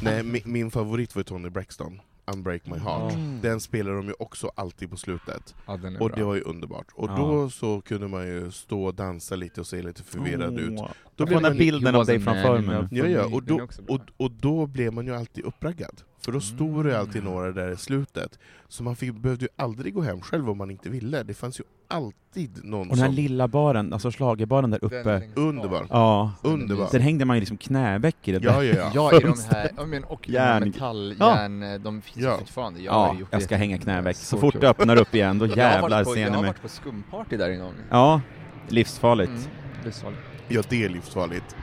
Speaker 1: Nej, min, min favorit var ju Tony Braxton, Unbreak My Heart. Den spelar de ju också alltid på slutet.
Speaker 2: Ja, den är
Speaker 1: Och
Speaker 2: bra.
Speaker 1: det var ju underbart. Och
Speaker 3: Ja.
Speaker 1: då så kunde man ju stå och dansa lite och se lite förvirrad ut.
Speaker 3: Åh.
Speaker 1: Då
Speaker 3: Jag
Speaker 1: blev
Speaker 3: får den
Speaker 1: man,
Speaker 3: här bilden
Speaker 2: He
Speaker 3: av dig
Speaker 2: wasn't
Speaker 3: framför
Speaker 2: man
Speaker 3: mig.
Speaker 2: enough.
Speaker 1: ja, ja, och,
Speaker 2: Den är
Speaker 1: då,
Speaker 2: också bra.
Speaker 1: och, och då blev man ju alltid uppraggad. För då stod
Speaker 3: Mm.
Speaker 1: det ju alltid några där i slutet. Så man fick, behövde ju aldrig gå hem själv om man inte ville. Det fanns ju alltid någon
Speaker 3: Och den här
Speaker 1: som...
Speaker 3: lilla baren, alltså schlagerbaren där uppe.
Speaker 1: Underbar!
Speaker 3: Ja.
Speaker 1: Underbar!
Speaker 3: Där hängde man ju liksom knäveck i det där.
Speaker 1: Ja, ja, ja.
Speaker 2: Ja, i de här, ja men och
Speaker 3: Järn-
Speaker 2: järn. metall,
Speaker 3: Ja.
Speaker 2: järn, de finns
Speaker 1: Ja.
Speaker 2: ja. fortfarande. Jag, har
Speaker 3: Ja,
Speaker 2: ju gjort
Speaker 3: jag
Speaker 2: det
Speaker 3: ska hänga knäveck. Så
Speaker 2: jättemycket.
Speaker 3: fort det öppnar upp igen, då
Speaker 2: Jag har varit
Speaker 3: jävlar
Speaker 2: på-
Speaker 3: ser
Speaker 2: Jag
Speaker 3: ni
Speaker 2: har
Speaker 3: mig.
Speaker 2: varit på skumparty där en gång.
Speaker 3: Ja, livsfarligt.
Speaker 2: Mm, det är så.
Speaker 1: Ja, det är livsfarligt.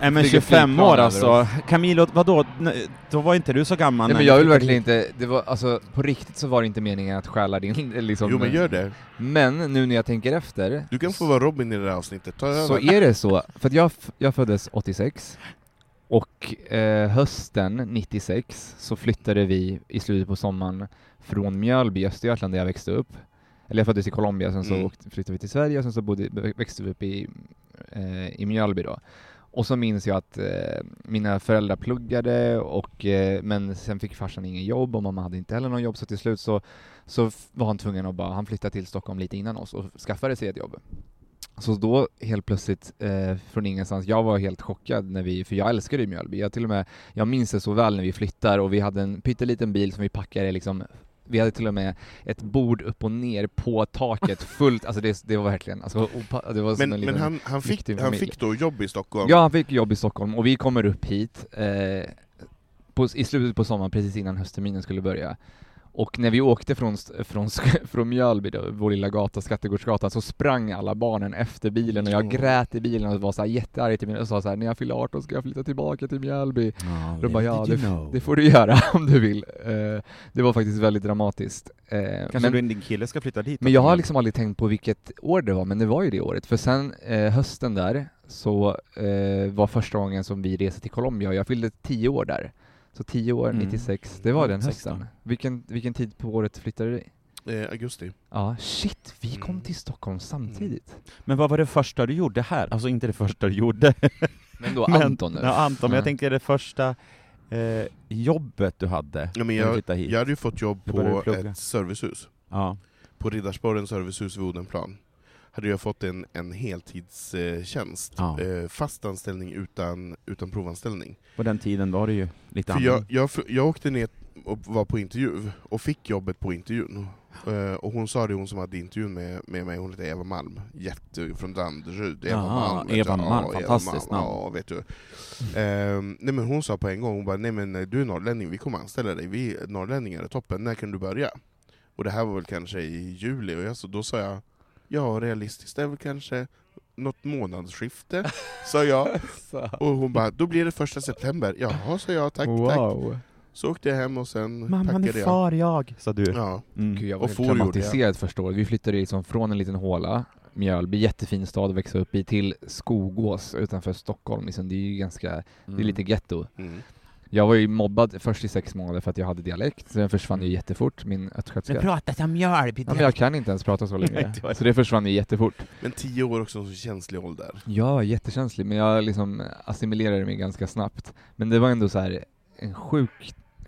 Speaker 3: Nej Äh, men
Speaker 2: Flyger
Speaker 3: 25
Speaker 2: flygplan
Speaker 3: år
Speaker 2: över
Speaker 3: alltså.
Speaker 2: oss.
Speaker 3: Camilo, vadå? N- Då var inte du så gammal.
Speaker 2: Nej
Speaker 3: när
Speaker 2: men jag
Speaker 3: ni
Speaker 2: vill
Speaker 3: fick-
Speaker 2: verkligen inte, det var alltså på riktigt så var det inte meningen att stjäla din liksom.
Speaker 1: Jo men gör det.
Speaker 2: Men nu när jag tänker efter.
Speaker 1: Du kan få vara Robin i det här avsnittet. Ta över.
Speaker 2: Så är det alltså så. För att jag, f- jag föddes 86 och eh, hösten 96 så flyttade vi i slutet på sommaren från Mjölby i Östergötland där jag växte upp. Eller jag föddes i Colombia, sen så
Speaker 1: Mm.
Speaker 2: åkte, flyttade vi till Sverige och sen så bodde, växte vi upp i, eh, i Mjölby då. Och så minns jag att eh, mina föräldrar pluggade, och, eh, men sen fick farsan ingen jobb och mamma hade inte heller någon jobb, så till slut så, så f- var han tvungen att bara, han flyttade till Stockholm lite innan oss och skaffade sig ett jobb. Så då helt plötsligt eh, från ingenstans, jag var helt chockad när vi, för jag älskade ju Mjölby, jag till och med, jag minns det så väl när vi flyttar och vi hade en pytteliten bil som vi packade liksom vi hade till och med ett bord upp och ner på taket fullt, alltså det, det var verkligen, alltså, opa- det var som
Speaker 1: Men, men
Speaker 2: en liten-
Speaker 1: han, han, fick,
Speaker 2: riktig
Speaker 1: han
Speaker 2: familj.
Speaker 1: fick då jobb i Stockholm.
Speaker 2: Ja, han fick jobb i Stockholm och vi kommer upp hit eh, på, i slutet på sommaren, precis innan höstterminen skulle börja. Och när vi åkte från, st- från, sk- från Mjölby, då, vår lilla gata, Skattegårdsgatan, så sprang alla barnen efter bilen och jag
Speaker 1: Åh.
Speaker 2: grät i bilen och var så här jättearg till mig och sa så här, när jag fyller 18 ska jag flytta tillbaka till Mjölby.
Speaker 3: Ja,
Speaker 2: Då bara,
Speaker 3: little
Speaker 2: ja,
Speaker 3: did
Speaker 2: det,
Speaker 3: you know.
Speaker 2: det får du göra om du vill. Eh, det var faktiskt väldigt dramatiskt. Eh,
Speaker 3: Kanske du och din kille ska flytta dit?
Speaker 2: men jag har
Speaker 3: också.
Speaker 2: liksom aldrig tänkt på vilket år det var, men det var ju det året. För sen eh, hösten där så eh, var första gången som vi reste till Colombia och jag fyllde tio år där. Så tio år,
Speaker 3: Mm.
Speaker 2: 96, det var den
Speaker 3: 16.
Speaker 2: hösten. Vilken, vilken tid på året flyttade du?
Speaker 1: Eh, augusti.
Speaker 2: Ja, shit, vi kom
Speaker 1: Mm.
Speaker 2: till Stockholm samtidigt.
Speaker 3: Men vad var det första du gjorde här? Alltså inte det första du gjorde.
Speaker 2: Men då
Speaker 3: Men-
Speaker 2: Anton nu. Mm.
Speaker 3: Ja, Anton, men jag
Speaker 2: Ja.
Speaker 3: tänker det första eh, jobbet du hade.
Speaker 1: Ja, men
Speaker 3: när du
Speaker 1: jag,
Speaker 3: flyttade hit.
Speaker 1: jag hade ju fått jobb
Speaker 3: Du började
Speaker 1: på
Speaker 3: plugga.
Speaker 1: ett servicehus.
Speaker 3: Ja.
Speaker 1: På Riddarsporrens servicehus vid Odenplan. Hade jag fått en, en heltidstjänst.
Speaker 3: Ja.
Speaker 1: Eh, fast anställning utan, utan provanställning.
Speaker 3: På den tiden var det ju lite
Speaker 1: För
Speaker 3: annan.
Speaker 1: jag, jag, fr- jag åkte ner och var på intervju, och fick jobbet på intervjun. Eh, och hon sa det, hon som hade intervjun med, med mig, hon heter Eva Malm. Jätte, från Danderyd. Eva
Speaker 3: Aha,
Speaker 1: Malm. vet
Speaker 3: Eva
Speaker 1: jag.
Speaker 3: Malm, fantastiskt
Speaker 1: Malm,
Speaker 3: namn.
Speaker 1: Ja, vet du. Ehm, nej men hon sa på en gång, hon bara, nej men eh, du är norrlänning, vi kommer anställa dig. Vi norrlänningar är toppen, när kan du börja? Och det här var väl kanske i juli, och jag, så då sa jag, ja realistiskt det är väl kanske något månadsskifte, sa jag. Och hon bara, då blir det första september. Jaha, sa jag, tack, tack.
Speaker 2: wow.
Speaker 1: Så åkte jag hem och sen
Speaker 3: Mamma, nu
Speaker 1: packade jag.
Speaker 3: far jag, sa du.
Speaker 1: Ja.
Speaker 3: Mm.
Speaker 2: Gud,
Speaker 1: Och
Speaker 2: jag var helt
Speaker 1: for gjorde jag.
Speaker 2: traumatiserad första året. Vi flyttade liksom från en liten håla, Mjölby, jättefin stad att växa upp i, till Skogås utanför Stockholm. Liksom, det är ju ganska, det är lite getto.
Speaker 1: Mm.
Speaker 2: Jag var ju mobbad först i sex månader för att jag hade dialekt, sen försvann
Speaker 3: Mm.
Speaker 2: ju jättefort min östgötska.
Speaker 3: pratar som Mjölby.
Speaker 2: Ja, men jag kan inte ens prata så
Speaker 3: Nej,
Speaker 2: länge,
Speaker 3: det var-
Speaker 2: så det försvann ju jättefort.
Speaker 1: Men tio år också en så känslig ålder.
Speaker 2: Jag var jättekänslig, men jag liksom assimilerade mig ganska snabbt. Men det var ändå så här en sjuk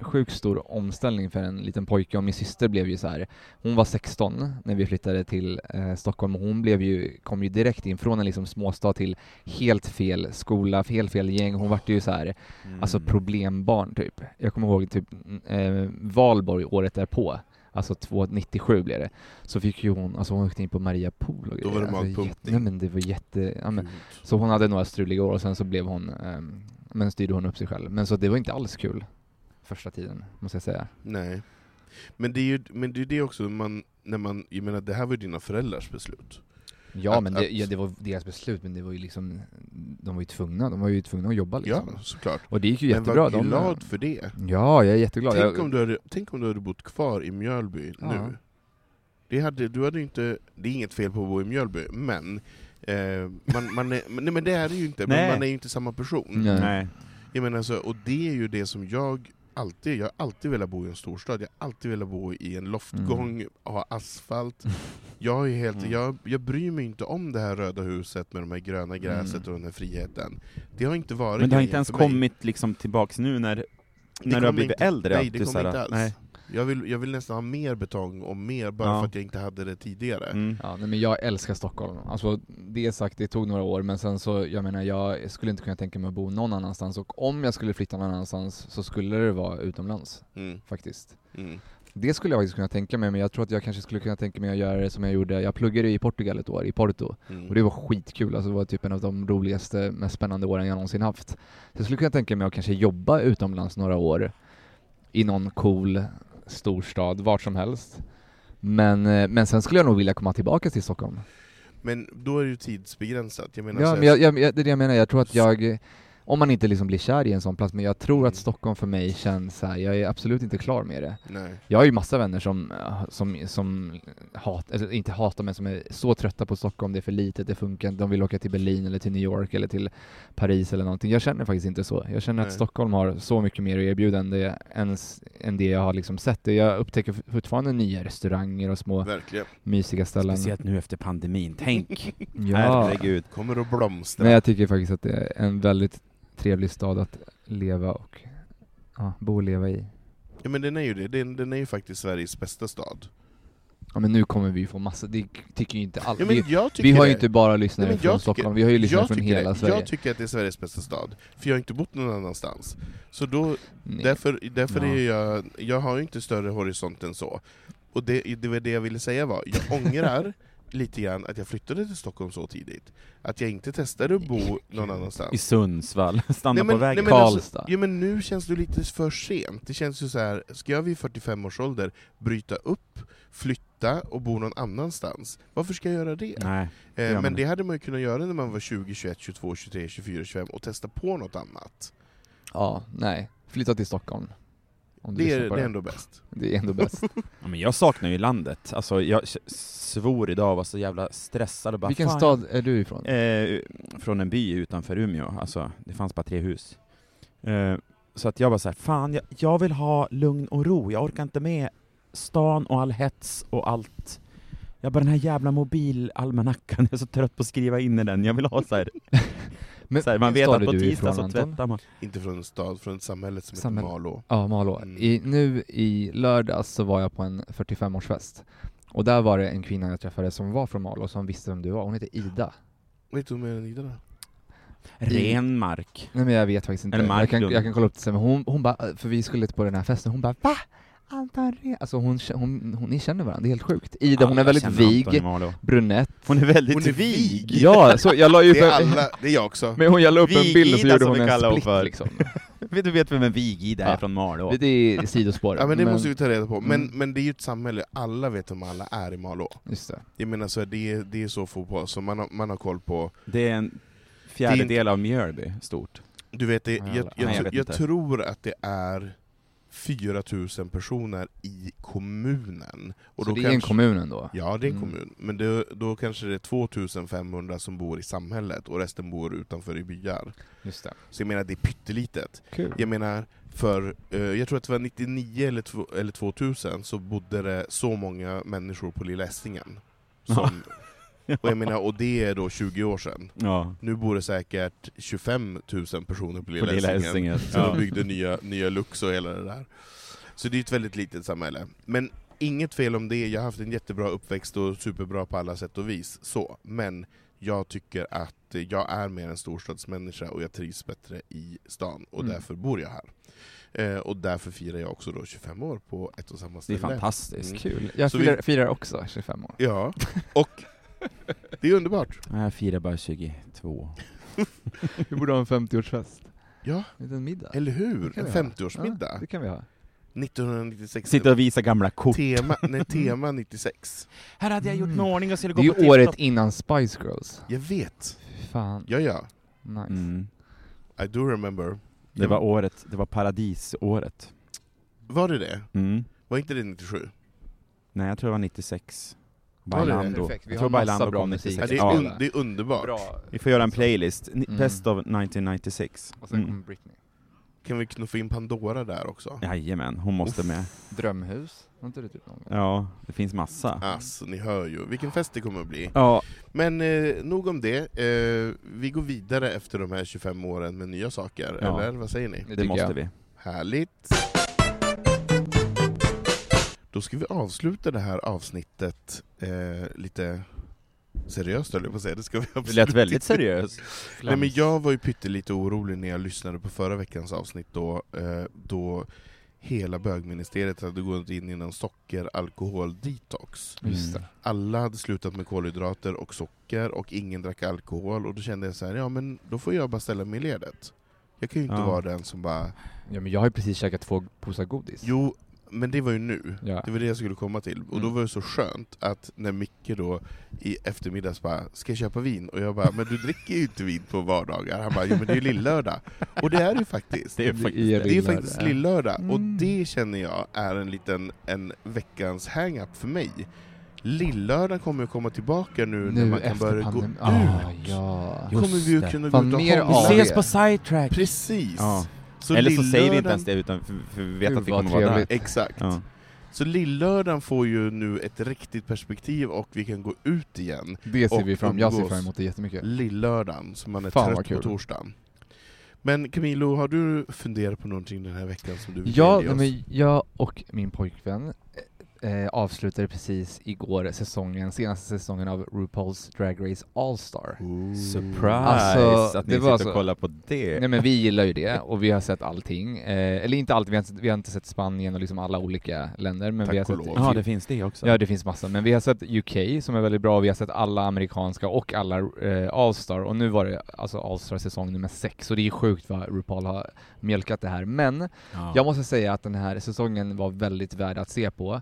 Speaker 2: sjukt stor omställning för en liten pojke och min syster blev ju så här. hon var 16 när vi flyttade till eh, Stockholm och hon blev ju, kom ju direkt in från en liksom småstad till helt fel skola, helt fel gäng, hon vart ju så här, alltså
Speaker 3: Mm.
Speaker 1: Mm.
Speaker 2: problembarn typ. Jag kommer ihåg typ eh, Valborg året därpå, alltså 297 blev det, så fick ju hon, alltså hon åkte in på Maria Pool och
Speaker 1: Då var det
Speaker 2: alltså,
Speaker 1: magpumpning.
Speaker 2: jätte, Nej men det var jätte, ja, men,
Speaker 1: Gud.
Speaker 2: så hon hade några struliga år och sen så blev hon, ehm, men styrde hon upp sig själv. Men så det var inte alls kul första tiden, måste jag säga.
Speaker 1: Nej. Men det är ju men det, är ju det också, man, när man, jag menar det här var ju dina föräldrars beslut.
Speaker 2: Ja
Speaker 1: Att-
Speaker 2: men det,
Speaker 1: att-
Speaker 2: ja, det var deras beslut, men det var ju liksom, de var ju tvungna, de var ju tvungna att jobba liksom.
Speaker 1: Ja, såklart.
Speaker 2: Och det gick ju
Speaker 1: men
Speaker 2: jättebra.
Speaker 1: var
Speaker 2: de-
Speaker 1: glad för det.
Speaker 2: Ja, jag är jätteglad.
Speaker 1: Tänk
Speaker 2: jag,
Speaker 1: om, du hade, tänk om du hade bott kvar i Mjölby
Speaker 2: Ja.
Speaker 1: nu. Det, hade, du hade ju inte, det är inget fel på att bo i Mjölby, men eh, man, man är, men- nej, men det är det ju inte, men
Speaker 3: Nej.
Speaker 1: man är ju inte samma person.
Speaker 2: Nej.
Speaker 3: Nej.
Speaker 1: Jag menar så, och det är ju det som jag alltid, jag har alltid velat bo i en storstad, jag har alltid velat bo i en loftgång, ha asfalt. Jag, är helt,
Speaker 3: Mm.
Speaker 1: jag, jag bryr mig inte om det här röda huset med de här gröna gräset
Speaker 2: Mm.
Speaker 1: och den här friheten. Det har inte varit
Speaker 3: Men det har
Speaker 1: grejen
Speaker 3: inte ens
Speaker 1: för mig.
Speaker 3: kommit liksom tillbaks nu när, när du
Speaker 1: kommer
Speaker 3: har blivit
Speaker 1: inte-
Speaker 3: äldre?
Speaker 1: Nej,
Speaker 3: att
Speaker 1: det
Speaker 3: du
Speaker 1: kommer
Speaker 3: såhär-
Speaker 1: inte alls.
Speaker 3: Nej.
Speaker 1: Jag vill, jag vill nästan ha mer betong och mer, bara
Speaker 3: Ja.
Speaker 1: för att jag inte hade det tidigare.
Speaker 3: Mm.
Speaker 2: Ja, nej, men jag älskar Stockholm. Alltså, det sagt, det tog några år, men sen så, jag menar, jag skulle inte kunna tänka mig att bo någon annanstans och om jag skulle flytta någon annanstans så skulle det vara utomlands,
Speaker 1: Mm,
Speaker 2: faktiskt.
Speaker 1: mm,
Speaker 2: Det skulle jag faktiskt kunna tänka mig, men jag tror att jag kanske skulle kunna tänka mig att göra det som jag gjorde. Jag pluggade i Portugal ett år, i Porto,
Speaker 1: mm.
Speaker 2: och det var skitkul. Alltså det var typ en av de roligaste, mest spännande åren jag någonsin haft. Så jag skulle kunna tänka mig att kanske jobba utomlands några år i någon cool storstad, vart som helst. Men, eh, men sen skulle jag nog vilja komma tillbaka till Stockholm.
Speaker 1: Men då är det ju tidsbegränsat. Jag menar
Speaker 2: Ja,
Speaker 1: så här,
Speaker 2: men jag, jag, jag, det är det jag menar. Jag tror att jag, eh, om man inte liksom blir kär i en sån plats, men jag tror
Speaker 1: Mm.
Speaker 2: att Stockholm för mig känns så här, jag är absolut inte klar med det.
Speaker 1: nej.
Speaker 2: Jag har ju massa vänner som, eh, som, som hat, eller inte hatar men som är så trötta på Stockholm, det är för litet, det funkar inte, de vill åka till Berlin eller till New York eller till Paris eller någonting. Jag känner faktiskt inte så. Jag känner att
Speaker 1: Nej.
Speaker 2: Stockholm har så mycket mer att erbjuda än det, än, s- än det jag har liksom sett. Det- Jag upptäcker f- fortfarande nya restauranger och små
Speaker 1: Verkligen.
Speaker 2: mysiga ställen.
Speaker 3: Speciellt nu efter pandemin, tänk!
Speaker 2: Ja.
Speaker 3: Herregud.
Speaker 1: Kommer att blomstra.
Speaker 2: Nej jag tycker faktiskt att det är en väldigt trevlig stad att leva och ja, bo och leva i.
Speaker 1: Ja, men den är ju det. Den, den är ju faktiskt Sveriges bästa stad.
Speaker 2: Ja men nu kommer vi få massa, det tycker ju inte alls.
Speaker 1: Ja, men
Speaker 2: vi-
Speaker 1: jag tycker
Speaker 2: Vi har
Speaker 1: det.
Speaker 2: ju inte bara lyssnare
Speaker 1: Nej, men jag
Speaker 2: från
Speaker 1: tycker-
Speaker 2: Stockholm, vi har ju lyssnare
Speaker 1: jag
Speaker 2: från
Speaker 1: tycker
Speaker 2: hela
Speaker 1: det.
Speaker 2: Sverige.
Speaker 1: Jag tycker att det är Sveriges bästa stad, för jag har inte bott någon annanstans. Så då,
Speaker 2: Nej.
Speaker 1: därför, därför
Speaker 2: Ja.
Speaker 1: är jag, jag har ju inte större horisont än så. Och det, det var det jag ville säga var, jag ångrar lite grann att jag flyttade till Stockholm så tidigt. Att jag inte testade att bo någon annanstans.
Speaker 3: I Sundsvall, stanna
Speaker 1: Nej,
Speaker 3: på vägen.
Speaker 1: nej, men
Speaker 2: Karlstad.
Speaker 1: Alltså, ja, men nu känns det lite för sent. Det känns ju så här, ska jag vid 45 års ålder bryta upp, flytta och bo någon annanstans? Varför ska jag göra det?
Speaker 3: nej.
Speaker 1: Eh,
Speaker 3: gör man
Speaker 1: men det
Speaker 3: inte.
Speaker 1: hade man ju kunnat göra när man var 20, 21, 22, 23, 24, 25 och testa på något annat.
Speaker 2: Ja, nej. Flytta till Stockholm. Om du
Speaker 1: Det är,
Speaker 2: lyssnar på
Speaker 1: det är ändå bäst.
Speaker 2: det är ändå bäst.
Speaker 3: Ja, men jag saknar ju landet, alltså jag s- svor idag och var så jävla stressad och bara
Speaker 2: Vilken
Speaker 3: "Fan,
Speaker 2: stad är du ifrån?
Speaker 3: Eh, från en by utanför Umeå, alltså det fanns bara tre hus. Eh, så att jag bara såhär, fan jag, jag vill ha lugn och ro, jag orkar inte med stan och all hets och allt. Jag bara den här jävla mobilalmanackan, jag är så trött på att skriva in i den, jag vill ha såhär,
Speaker 2: Men,
Speaker 3: så här, man
Speaker 2: vilken
Speaker 3: vet
Speaker 2: stad
Speaker 3: att
Speaker 2: är
Speaker 3: på
Speaker 2: du
Speaker 3: tisdag
Speaker 2: ifrån,
Speaker 3: så
Speaker 2: Anton?
Speaker 3: tvättar man.
Speaker 1: Inte från en stad, från ett samhälle som
Speaker 2: Samhälle.
Speaker 1: heter Malå.
Speaker 2: Ja, Malå.
Speaker 1: Mm.
Speaker 2: I, nu i lördags så var jag på en 45-årsfest. Och där var det en kvinna jag träffade som var från Malå som visste vem du var. Hon hette Ida.
Speaker 1: Vet du mer än Ida då?
Speaker 3: Ren mark.
Speaker 2: Nej men jag vet faktiskt inte.
Speaker 3: Eller
Speaker 2: Jag kan,
Speaker 3: Marklund.
Speaker 2: jag kan kolla upp det sen. Men hon, hon bara, för vi skulle på den här festen, hon bara va? Anton Re-" Alltså hon, hon, hon, ni känner varandra, det är helt sjukt. Ida hon är
Speaker 3: jag
Speaker 2: väldigt
Speaker 3: känner Anton i
Speaker 2: vig,
Speaker 3: Malå.
Speaker 2: brunett.
Speaker 3: Hon är väldigt
Speaker 1: Hon är vig!
Speaker 2: Ja, så jag la ju
Speaker 1: Det
Speaker 2: upp
Speaker 1: är
Speaker 2: en,
Speaker 1: alla, det är jag också.
Speaker 2: men hon, jag la upp en bild och så
Speaker 3: Vig-Ida
Speaker 2: gjorde
Speaker 3: som
Speaker 2: hon
Speaker 3: vi kallar
Speaker 2: en
Speaker 3: hon
Speaker 2: split
Speaker 3: för.
Speaker 2: liksom.
Speaker 3: Vet Du vet vem en vig-Ida är
Speaker 2: Ja.
Speaker 3: från Malå?
Speaker 2: Det är sidospår.
Speaker 1: Ja men det måste vi
Speaker 2: vi...
Speaker 1: ta reda på. Men,
Speaker 2: Mm.
Speaker 1: men det är ju ett samhälle, alla vet om alla är i Malå.
Speaker 2: Just det.
Speaker 1: Jag menar så här, det, är- det är så fotboll, så man har, man har koll på
Speaker 3: Det är en fjärdedel av Mjölby, stort.
Speaker 1: Du vet, det,
Speaker 2: Nej,
Speaker 1: jag,
Speaker 2: jag-
Speaker 1: jag,
Speaker 3: nej, jag
Speaker 1: tr-
Speaker 3: vet
Speaker 1: jag
Speaker 3: inte.
Speaker 1: tror att det är 4000 personer i kommunen.
Speaker 2: Och
Speaker 1: Och
Speaker 2: så
Speaker 1: då
Speaker 2: det är en
Speaker 1: kanske-
Speaker 2: kommun ändå?
Speaker 1: Ja, det är en
Speaker 2: Mm.
Speaker 1: kommun. Men det, då kanske det är 2500 som bor i samhället och resten bor utanför i byar.
Speaker 2: Just det.
Speaker 1: Så jag menar, det är pyttelitet.
Speaker 2: Kul.
Speaker 1: Jag menar, för eh, jag tror att det var 99 eller, två- eller 2000 så bodde det så många människor på Lilla Essingen. Som, Och jag menar, och det är då 20 år sedan.
Speaker 3: Ja.
Speaker 1: Nu bor det säkert 25 000 personer på
Speaker 3: På Lilla
Speaker 1: Lilla Essingen.
Speaker 3: Essingen,
Speaker 1: Så
Speaker 3: ja.
Speaker 1: de byggde nya, nya Lux och hela det där. Så det är ett väldigt litet samhälle. Men inget fel om det, jag har haft en jättebra uppväxt och superbra på alla sätt och vis. Så. Men jag tycker att jag är mer en storstadsmänniska och jag trivs bättre i stan. Och
Speaker 2: Mm.
Speaker 1: därför bor jag här. Eh, och därför firar jag också då 25 år på ett och samma
Speaker 3: Det är
Speaker 1: ställe.
Speaker 3: fantastiskt.
Speaker 1: Mm.
Speaker 2: Kul. Jag
Speaker 1: Så vi-
Speaker 2: firar, firar också 25 år.
Speaker 1: Ja, och det är underbart.
Speaker 3: Nej, Jag firar bara 22.
Speaker 2: Vi borde ha en 50-årsfest.
Speaker 1: Ja,
Speaker 2: En liten middag.
Speaker 1: eller hur?
Speaker 2: kan
Speaker 1: En
Speaker 2: vi göra.
Speaker 1: 50-årsmiddag.
Speaker 2: Ja, det kan vi ha.
Speaker 1: 1996.
Speaker 3: Sitta och visa gamla kort.
Speaker 1: Tema, nej, tema 96.
Speaker 3: Här hade jag gjort
Speaker 2: Mm.
Speaker 3: en ordning och skulle
Speaker 2: Det är
Speaker 3: gå på
Speaker 2: ju året
Speaker 3: TikTok.
Speaker 2: innan Spice Girls.
Speaker 1: Jag vet.
Speaker 2: Fy Fan,
Speaker 1: Ja, ja.
Speaker 2: nice.
Speaker 3: Mm.
Speaker 1: I do remember.
Speaker 3: Det var året, det var paradisåret.
Speaker 1: Var det det?
Speaker 3: Mm.
Speaker 1: Var inte det 97?
Speaker 3: Nej, jag tror det var 96.
Speaker 1: det är
Speaker 3: Bailando.
Speaker 2: perfekt. Vi
Speaker 3: jag
Speaker 2: har
Speaker 3: tror
Speaker 2: massa
Speaker 3: Bailando
Speaker 2: bra
Speaker 3: kom
Speaker 2: musik.
Speaker 3: 96.
Speaker 1: Ja, Alltså, det, är
Speaker 2: Ja.
Speaker 1: un, det är underbart.
Speaker 2: Bra.
Speaker 3: Vi får göra en playlist. Ni-
Speaker 2: Mm.
Speaker 3: Best of 1996.
Speaker 2: Och sen
Speaker 3: Mm.
Speaker 2: kommer Britney.
Speaker 1: Kan vi knuffa in Pandora där också?
Speaker 3: Jajamän, hon måste med.
Speaker 2: Drömhus, var inte det typ någon gång?
Speaker 3: Ja, det finns massa.
Speaker 1: Alltså, ni hör ju. Vilken fest det kommer att bli.
Speaker 3: Ja,
Speaker 1: Men eh, nog om det. Eh, vi går vidare efter de här 25 åren med nya saker,
Speaker 3: Ja.
Speaker 1: eller vad säger ni?
Speaker 3: det,
Speaker 2: tycker
Speaker 3: måste
Speaker 2: jag.
Speaker 3: vi.
Speaker 1: Härligt! Då ska vi avsluta det här avsnittet eh, lite seriöst höll jag på att säga. Det ska vi
Speaker 3: Det
Speaker 1: absolut
Speaker 3: lät väldigt
Speaker 1: inte.
Speaker 3: seriöst.
Speaker 1: Nej men jag var ju pyttelite orolig när jag lyssnade på förra veckans avsnitt då, eh, då hela bögministeriet hade gått in i någon socker-alkohol-detox.
Speaker 2: Just det.
Speaker 1: Alla hade slutat med kolhydrater och socker och ingen drack alkohol och då kände jag så här, ja men då får jag bara ställa mig i ledet. Jag kan ju inte
Speaker 3: Ja.
Speaker 1: vara den som bara,
Speaker 2: Ja men jag har ju precis käkat två påsar godis.
Speaker 1: jo men det var ju nu.
Speaker 2: Ja.
Speaker 1: Det var det jag skulle komma till. Och då
Speaker 2: Mm.
Speaker 1: var det så skönt att när Micke då i eftermiddags bara ”Ska jag köpa vin?” och jag bara ”Men du dricker ju inte vin på vardagar”. Han bara ”Jo men det är ju lillördag”. Och det är det ju faktiskt.
Speaker 3: Det är faktiskt
Speaker 1: Det är ju faktiskt lillördag. Och
Speaker 2: Mm.
Speaker 1: det känner jag är en liten en veckans hang-up för mig. Lillördagen kommer ju komma tillbaka nu, när man kan börja gå ut.
Speaker 2: Ah, ja.
Speaker 3: Just
Speaker 1: kommer vi ju
Speaker 3: det.
Speaker 1: kunna gå
Speaker 2: Fan,
Speaker 1: ut och
Speaker 2: mer
Speaker 3: Vi
Speaker 2: av
Speaker 1: hångla.
Speaker 2: det.
Speaker 3: ses på sidetrack!
Speaker 1: Precis!
Speaker 3: Ja.
Speaker 1: Så
Speaker 3: Eller så säger vi
Speaker 1: lillördagen-
Speaker 3: inte ens det utan för, för vi vet
Speaker 2: Gud,
Speaker 3: att vi
Speaker 2: vad
Speaker 3: kommer vara där.
Speaker 2: trevligt.
Speaker 1: Exakt.
Speaker 3: Ja.
Speaker 1: Så lillördagen får ju nu ett riktigt perspektiv och vi kan gå ut igen.
Speaker 2: Det ser
Speaker 1: Och
Speaker 2: vi fram Jag ser
Speaker 1: umgås.
Speaker 2: fram emot det jättemycket.
Speaker 1: lillördagen, så man är
Speaker 2: Fan, vad
Speaker 1: trött på
Speaker 2: kul.
Speaker 1: torsdagen. Men Camilo, har du funderat på någonting den här veckan som du vill
Speaker 2: Ja,
Speaker 1: delge
Speaker 2: nej,
Speaker 1: oss?
Speaker 2: men jag och min pojkvän eh, eh, avslutade precis igår säsongen, senaste säsongen av RuPaul's Drag Race All Star.
Speaker 3: Surprise!
Speaker 2: Alltså,
Speaker 3: att ni
Speaker 2: det
Speaker 3: sitter
Speaker 2: var
Speaker 3: och
Speaker 2: så-
Speaker 3: kollar på det.
Speaker 2: Nej men vi gillar ju det och vi har sett allting. Eh, eller inte allt, vi har, inte- vi har inte sett Spanien och liksom alla olika länder. Men
Speaker 1: Tack
Speaker 2: vi har
Speaker 1: och
Speaker 2: sett
Speaker 1: lov.
Speaker 3: ja, det finns det också.
Speaker 2: Ja, det finns massa. Men vi har sett UK som är väldigt bra, vi har sett alla amerikanska och alla eh, All-Star och nu var det alltså All-Star säsong nummer sex och det är sjukt vad RuPaul har mjölkat det här. Men
Speaker 3: Ja.
Speaker 2: jag måste säga att den här säsongen var väldigt värd att se på.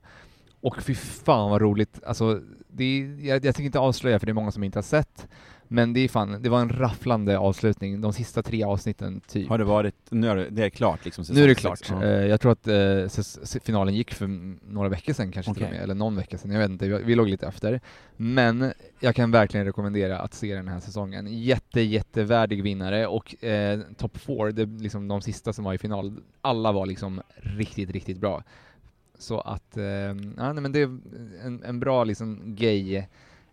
Speaker 2: Och fy fan vad roligt. Alltså, det är, jag, jag tänker inte avslöja för det är många som inte har sett. Men det är fan, det var en rafflande avslutning. De sista tre avsnitten typ.
Speaker 3: Har det varit, nu är det, det är klart liksom? säsong
Speaker 2: Nu är det
Speaker 3: sex.
Speaker 2: klart.
Speaker 3: Ja.
Speaker 2: Eh, jag tror att eh, ses- se- finalen gick för m- några veckor sedan kanske till och
Speaker 3: Okej.
Speaker 2: med, eller någon vecka sedan, jag vet inte, vi, vi låg lite efter. Men jag kan verkligen rekommendera att se den här säsongen. Jätte, jättevärdig vinnare och eh, top four, det, är liksom de sista som var i final, alla var liksom riktigt, riktigt bra. Så att, eh, ja, nej, men det är en, en bra liksom gay,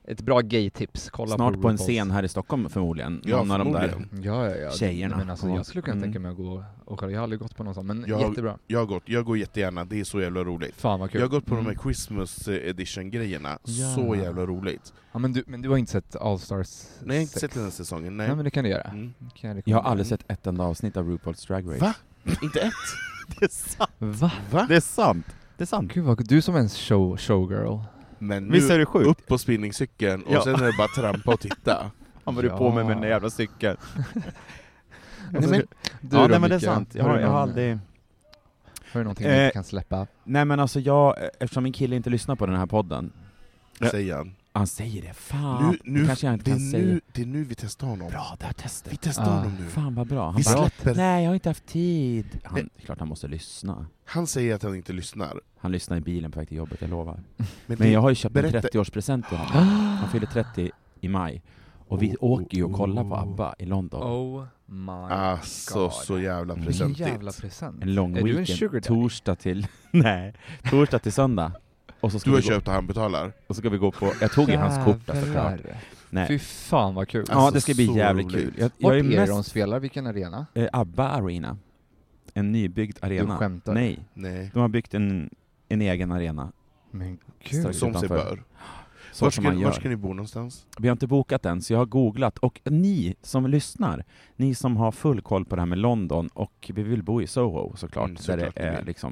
Speaker 2: ett bra gay-tips. Kolla
Speaker 3: Snart på
Speaker 2: RuPaul's.
Speaker 3: en scen här i Stockholm förmodligen.
Speaker 1: Ja,
Speaker 3: Någon av de där.
Speaker 1: förmodligen.
Speaker 2: Ja, ja, ja.
Speaker 3: Tjejerna.
Speaker 2: Men alltså,
Speaker 3: Ja.
Speaker 2: jag skulle kunna
Speaker 3: Mm.
Speaker 2: tänka mig att gå och kolla, jag har aldrig gått på någon sån, men
Speaker 1: Jag-
Speaker 2: jättebra.
Speaker 1: Jag har gått, jag går jättegärna, det är så jävla roligt.
Speaker 2: Fan vad kul.
Speaker 1: Jag har gått på
Speaker 2: Mm.
Speaker 1: de här Christmas eh, edition-grejerna,
Speaker 2: Ja.
Speaker 1: så jävla roligt.
Speaker 2: Ja, men, du, men du har inte sett Allstars?
Speaker 1: Nej, jag har inte sett den här säsongen, nej.
Speaker 2: Nej men det kan du göra.
Speaker 1: Mm.
Speaker 2: Det Kan jag,
Speaker 3: Jag har aldrig sett ett enda avsnitt av RuPaul's Drag Race.
Speaker 1: Va? Inte ett?
Speaker 3: Det är sant!
Speaker 2: Va?
Speaker 1: Va?
Speaker 3: Det är sant! Det är sant.
Speaker 2: Gud vad, du som är en show, showgirl.
Speaker 1: Men nu,
Speaker 3: Visst är det sjukt?
Speaker 1: upp på spinningcykeln och
Speaker 3: Ja.
Speaker 1: sen är det bara trampa och titta.
Speaker 3: Han var du på mig med den där
Speaker 2: Ja.
Speaker 3: jävla cykeln.
Speaker 2: Alltså,
Speaker 3: men-
Speaker 2: du
Speaker 3: ja,
Speaker 2: då,
Speaker 3: nej men det är
Speaker 2: Micke?
Speaker 3: sant. Jag har,
Speaker 2: du
Speaker 3: jag har
Speaker 2: någon-
Speaker 3: aldrig...
Speaker 2: Har du någonting du
Speaker 3: Eh.
Speaker 2: inte kan släppa?
Speaker 3: Nej men alltså jag, eftersom min kille inte lyssnar på den här podden, Ja.
Speaker 1: Säger han.
Speaker 3: han säger det, fan! det kanske jag inte
Speaker 1: det,
Speaker 3: kan
Speaker 1: är
Speaker 3: säga.
Speaker 1: nu, det är nu vi testar honom.
Speaker 3: Bra, där testet!
Speaker 1: Vi testar
Speaker 2: Ah,
Speaker 1: honom nu.
Speaker 3: Fan vad bra. Han
Speaker 1: Vi
Speaker 3: bara,
Speaker 1: släpper.
Speaker 3: nej jag har inte haft tid. Han,
Speaker 1: Nej.
Speaker 3: klart han måste lyssna.
Speaker 1: Han säger att han inte lyssnar.
Speaker 3: Han lyssnar i bilen på väg till jobbet, jag lovar.
Speaker 1: Men,
Speaker 3: Men
Speaker 1: det-
Speaker 3: jag har ju köpt en
Speaker 1: berätta-
Speaker 3: 30-årspresent till honom. Han fyller 30 i maj. Och vi
Speaker 1: Oh,
Speaker 3: åker ju och
Speaker 1: oh,
Speaker 3: kollar på
Speaker 1: oh.
Speaker 3: ABBA i London.
Speaker 2: Oh my
Speaker 1: Alltså,
Speaker 2: God.
Speaker 1: så jävla
Speaker 2: Vilken
Speaker 3: Mm.
Speaker 1: presentigt.
Speaker 2: jävla present.
Speaker 3: En lång
Speaker 2: Är du en
Speaker 3: weekend.
Speaker 2: sugar daddy?
Speaker 3: torsdag till... nej, torsdag till söndag. Och så ska
Speaker 1: Du har
Speaker 3: vi gå,
Speaker 1: köpt och han betalar.
Speaker 3: Och så ska vi gå på... Jag tog ju hans kort där såklart.
Speaker 2: Jävlar. Fy
Speaker 3: Nej.
Speaker 2: fan vad kul.
Speaker 3: Ja, det
Speaker 1: Alltså,
Speaker 3: ska bli
Speaker 1: så
Speaker 3: jävligt
Speaker 1: roligt.
Speaker 3: kul. Jag,
Speaker 2: Vart
Speaker 3: jag är
Speaker 2: är det de
Speaker 3: mest...
Speaker 2: spelar? Vilken arena?
Speaker 3: Eh, ABBA Arena. En nybyggd arena.
Speaker 2: skämtar.
Speaker 3: Nej.
Speaker 1: Nej.
Speaker 3: De har byggt en, en egen arena.
Speaker 2: Men gud. Alltså,
Speaker 3: Strax
Speaker 1: Som sig
Speaker 3: utanför.
Speaker 1: bör.
Speaker 3: Så
Speaker 1: Vart
Speaker 3: som
Speaker 1: ska,
Speaker 3: man
Speaker 1: vart
Speaker 3: gör.
Speaker 1: ska ni bo någonstans?
Speaker 3: Vi har inte bokat den, så jag har googlat. Och ni som lyssnar, ni som har full koll på det här med London, och vi vill bo i Soho såklart,
Speaker 1: Mm, såklart
Speaker 3: där det
Speaker 1: vi
Speaker 3: är
Speaker 1: vill.
Speaker 3: liksom...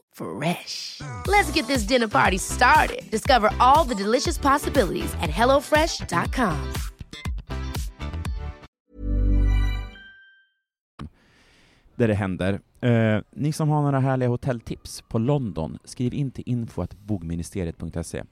Speaker 6: Fresh. Let's get this dinner party started. Discover all the delicious possibilities at hellofresh.com.
Speaker 3: där det händer. Eh, ni som har några härliga hotelltips på London, skriv in till info.bogministeriet.se.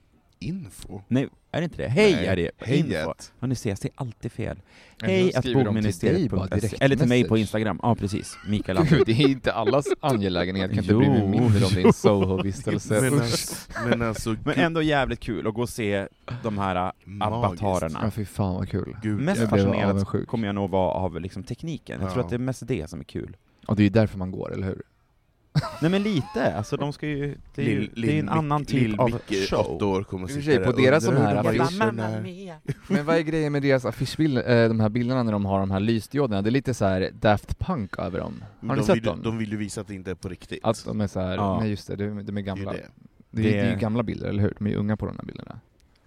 Speaker 1: Info?
Speaker 3: Nej, är det inte det? Hej
Speaker 1: Nej,
Speaker 3: är det!
Speaker 1: hej
Speaker 3: info.
Speaker 1: att.
Speaker 3: Ja, ni ser, jag säger alltid fel.
Speaker 2: Men
Speaker 3: Hej
Speaker 2: då
Speaker 3: att
Speaker 2: skriver de till dig bara,
Speaker 3: bogministeriet.se.
Speaker 2: direkt
Speaker 3: E. Eller till mig på
Speaker 2: message.
Speaker 3: Instagram. Ja, precis. Mikael
Speaker 2: Gud,
Speaker 3: Andersson.
Speaker 2: det är inte allas angelägenhet. Jag kan inte bry mig
Speaker 3: Jo,
Speaker 2: mindre om din
Speaker 3: jo.
Speaker 2: Soho-vistelse.
Speaker 1: Men,
Speaker 2: Usch.
Speaker 1: alltså, men alltså,
Speaker 3: Men
Speaker 1: gud,
Speaker 3: ändå jävligt kul att gå och se de här
Speaker 1: Magiskt.
Speaker 2: Ja,
Speaker 3: avatarerna.
Speaker 2: fy fan vad kul.
Speaker 1: gud.
Speaker 3: Mest
Speaker 2: Jag blev
Speaker 3: fascinerad
Speaker 2: avundsjuk.
Speaker 3: kommer jag nog vara av liksom tekniken. Jag tror
Speaker 1: Ja.
Speaker 3: att det är mest det som är kul.
Speaker 2: Och det är ju därför man går, eller hur?
Speaker 3: Nej men lite, alltså de ska ju... Det är ju
Speaker 1: Lill-
Speaker 3: det är
Speaker 1: Lill
Speaker 3: en annan
Speaker 1: Mic-
Speaker 3: typ
Speaker 1: Lill
Speaker 3: av
Speaker 1: Micke, åtta
Speaker 3: show.
Speaker 1: år, kommer att
Speaker 2: I och för
Speaker 1: sitta
Speaker 2: sig,
Speaker 1: där
Speaker 2: på
Speaker 1: och
Speaker 2: deras
Speaker 1: undra
Speaker 2: sån
Speaker 1: hur
Speaker 2: här
Speaker 1: de
Speaker 2: affischer-
Speaker 1: affischerna är.
Speaker 2: Men vad är grejen med deras affischbilder, eh, de här bilderna när de har de här lysdioderna? Det är lite så här Daft Punk över dem. Har ni
Speaker 1: de
Speaker 2: sett
Speaker 1: vill,
Speaker 2: dem?
Speaker 1: De vill ju visa att det inte är på riktigt.
Speaker 2: Att
Speaker 3: Alltså,
Speaker 2: de är så här,
Speaker 3: Ja.
Speaker 2: nej just det, de, de är
Speaker 1: Det är ju
Speaker 2: gamla. Det,
Speaker 1: det.
Speaker 2: är- det är ju
Speaker 3: Det-
Speaker 2: gamla bilder, eller hur? De är ju unga på de här bilderna.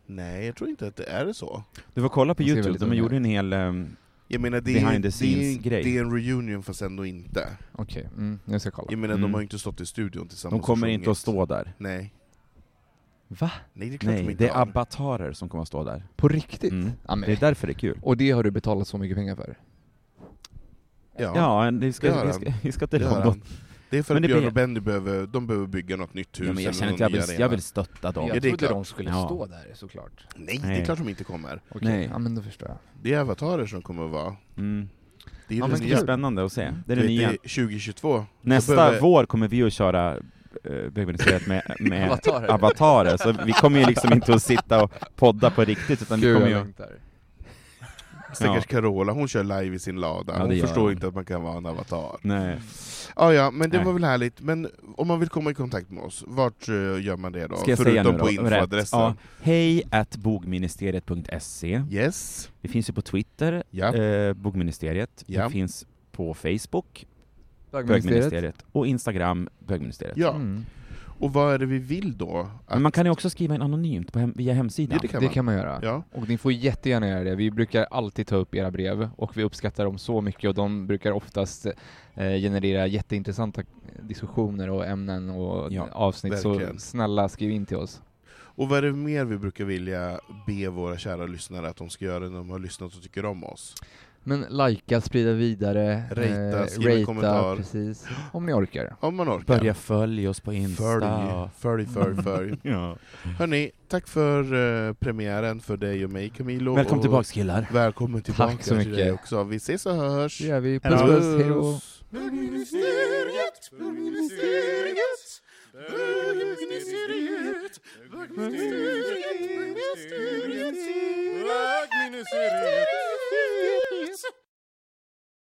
Speaker 1: Nej, jag tror inte att det är så.
Speaker 3: Du får kolla på
Speaker 2: De ser
Speaker 3: youtube,
Speaker 2: väldigt
Speaker 3: de
Speaker 2: unga
Speaker 3: gjorde en hel... ehm,
Speaker 1: Jag menar, det är, ju-
Speaker 3: Behind the
Speaker 1: det, är, ju-
Speaker 3: scenes-grej.
Speaker 1: det är en reunion fast ändå inte.
Speaker 2: Okej, mm, jag ska kolla.
Speaker 1: Jag menar,
Speaker 3: Mm.
Speaker 1: de har ju inte stått i studion tillsammans
Speaker 3: de kommer
Speaker 1: och
Speaker 3: inte
Speaker 1: sjungit.
Speaker 3: att stå där.
Speaker 1: Nej.
Speaker 2: Va?
Speaker 1: Nej, det är klart de
Speaker 3: Nej,
Speaker 1: inte
Speaker 3: det är
Speaker 1: har.
Speaker 3: avatarer som kommer att stå där.
Speaker 2: På riktigt?
Speaker 3: Mm.
Speaker 2: Ja, men.
Speaker 3: Det är därför det är kul.
Speaker 2: Och det har du betalat så mycket pengar för?
Speaker 1: Ja,
Speaker 3: Ja, en- vi ska,
Speaker 1: det gör
Speaker 3: vi ska, vi ska till
Speaker 1: det gör
Speaker 3: London.
Speaker 1: han. Det är för
Speaker 3: Men
Speaker 1: att
Speaker 3: det
Speaker 1: Björn
Speaker 3: blir-
Speaker 1: och Benny behöver, de behöver bygga något nytt hus
Speaker 3: Ja, men jag
Speaker 1: eller
Speaker 3: känner
Speaker 1: någon
Speaker 3: att jag
Speaker 1: ny
Speaker 3: vill,
Speaker 1: arena.
Speaker 3: jag vill stötta dem.
Speaker 1: Ja,
Speaker 2: jag
Speaker 1: det är
Speaker 2: trodde
Speaker 1: klart.
Speaker 2: de skulle
Speaker 3: Ja.
Speaker 2: stå där såklart.
Speaker 1: Nej, det är
Speaker 3: Nej.
Speaker 1: klart de inte kommer.
Speaker 2: Okej,
Speaker 3: Nej.
Speaker 2: ja men då förstår jag.
Speaker 1: Det är avatarer som kommer att vara.
Speaker 3: Mm.
Speaker 1: Det är
Speaker 3: Ja,
Speaker 1: det
Speaker 3: men det ska bli
Speaker 1: nya.
Speaker 3: spännande att se. Det
Speaker 1: Du
Speaker 3: är det
Speaker 1: vet,
Speaker 3: nya.
Speaker 1: Mm. det är 2022.
Speaker 3: Nästa
Speaker 1: Så behöver-
Speaker 3: vår kommer vi att köra eh, Bögministeriet med, med
Speaker 2: Avatarer.
Speaker 3: avatarer. så vi kommer ju liksom inte att sitta och podda på riktigt, utan vi
Speaker 2: Gud,
Speaker 3: kommer
Speaker 2: jag
Speaker 3: ju...
Speaker 2: längtar.
Speaker 1: Stackars
Speaker 3: Ja.
Speaker 1: Carola, hon kör live i sin lada.
Speaker 3: Ja,
Speaker 1: hon
Speaker 3: det gör
Speaker 1: förstår
Speaker 3: hon.
Speaker 1: inte att man kan vara en avatar.
Speaker 3: Nej.
Speaker 1: Ja, ja, men det
Speaker 3: Nej.
Speaker 1: var väl härligt. Men om man vill komma i kontakt med oss, vart eh, gör man det då?
Speaker 3: Ska jag
Speaker 1: Förutom
Speaker 3: säga nu då?
Speaker 1: på
Speaker 3: Rätt.
Speaker 1: infoadressen.
Speaker 3: Ja. Hej at bogministeriet.se.
Speaker 1: Yes.
Speaker 3: Vi finns ju på Twitter,
Speaker 1: Ja.
Speaker 3: eh, bogministeriet.
Speaker 1: Ja.
Speaker 3: Vi finns på Facebook,
Speaker 2: Bögministeriet?
Speaker 3: bögministeriet. Och Instagram, bögministeriet.
Speaker 1: ja.
Speaker 2: Mm.
Speaker 1: Och vad är det vi vill då? Att-
Speaker 3: Men man kan ju också skriva in anonymt på hem, via hemsidan.
Speaker 1: Ja, det kan
Speaker 2: Det
Speaker 1: man.
Speaker 2: kan man göra.
Speaker 1: Ja.
Speaker 2: Och ni får jättegärna göra det. Vi brukar alltid ta upp era brev och vi uppskattar dem så mycket och de brukar oftast eh, generera jätteintressanta diskussioner och ämnen och
Speaker 3: Ja,
Speaker 2: avsnitt.
Speaker 1: verkligen.
Speaker 2: Så snälla skriv in till oss.
Speaker 1: Och vad är det mer vi brukar vilja be våra kära lyssnare att de ska göra när de har lyssnat och tycker om oss?
Speaker 2: Men likea, sprida vidare, eh,
Speaker 1: Rejta, skriv en kommentar.
Speaker 2: precis, om ni orkar.
Speaker 1: Om man orkar.
Speaker 3: Börja följa oss på Insta.
Speaker 1: Följ, följ, följ, följ.
Speaker 3: Ja.
Speaker 1: Hörni, tack för eh, premiären för dig och mig Camilo.
Speaker 3: Välkommen
Speaker 1: och
Speaker 3: tillbaks killar.
Speaker 1: Välkommen tillbaka
Speaker 2: Tack
Speaker 1: till
Speaker 2: så
Speaker 1: dig
Speaker 2: mycket.
Speaker 1: också. Vi ses och hörs.
Speaker 2: Det gör vi. Puss puss, hejdå!
Speaker 1: Bögministeriet, bögministeriet, bögministeriet, bögministeriet, bögministeriet.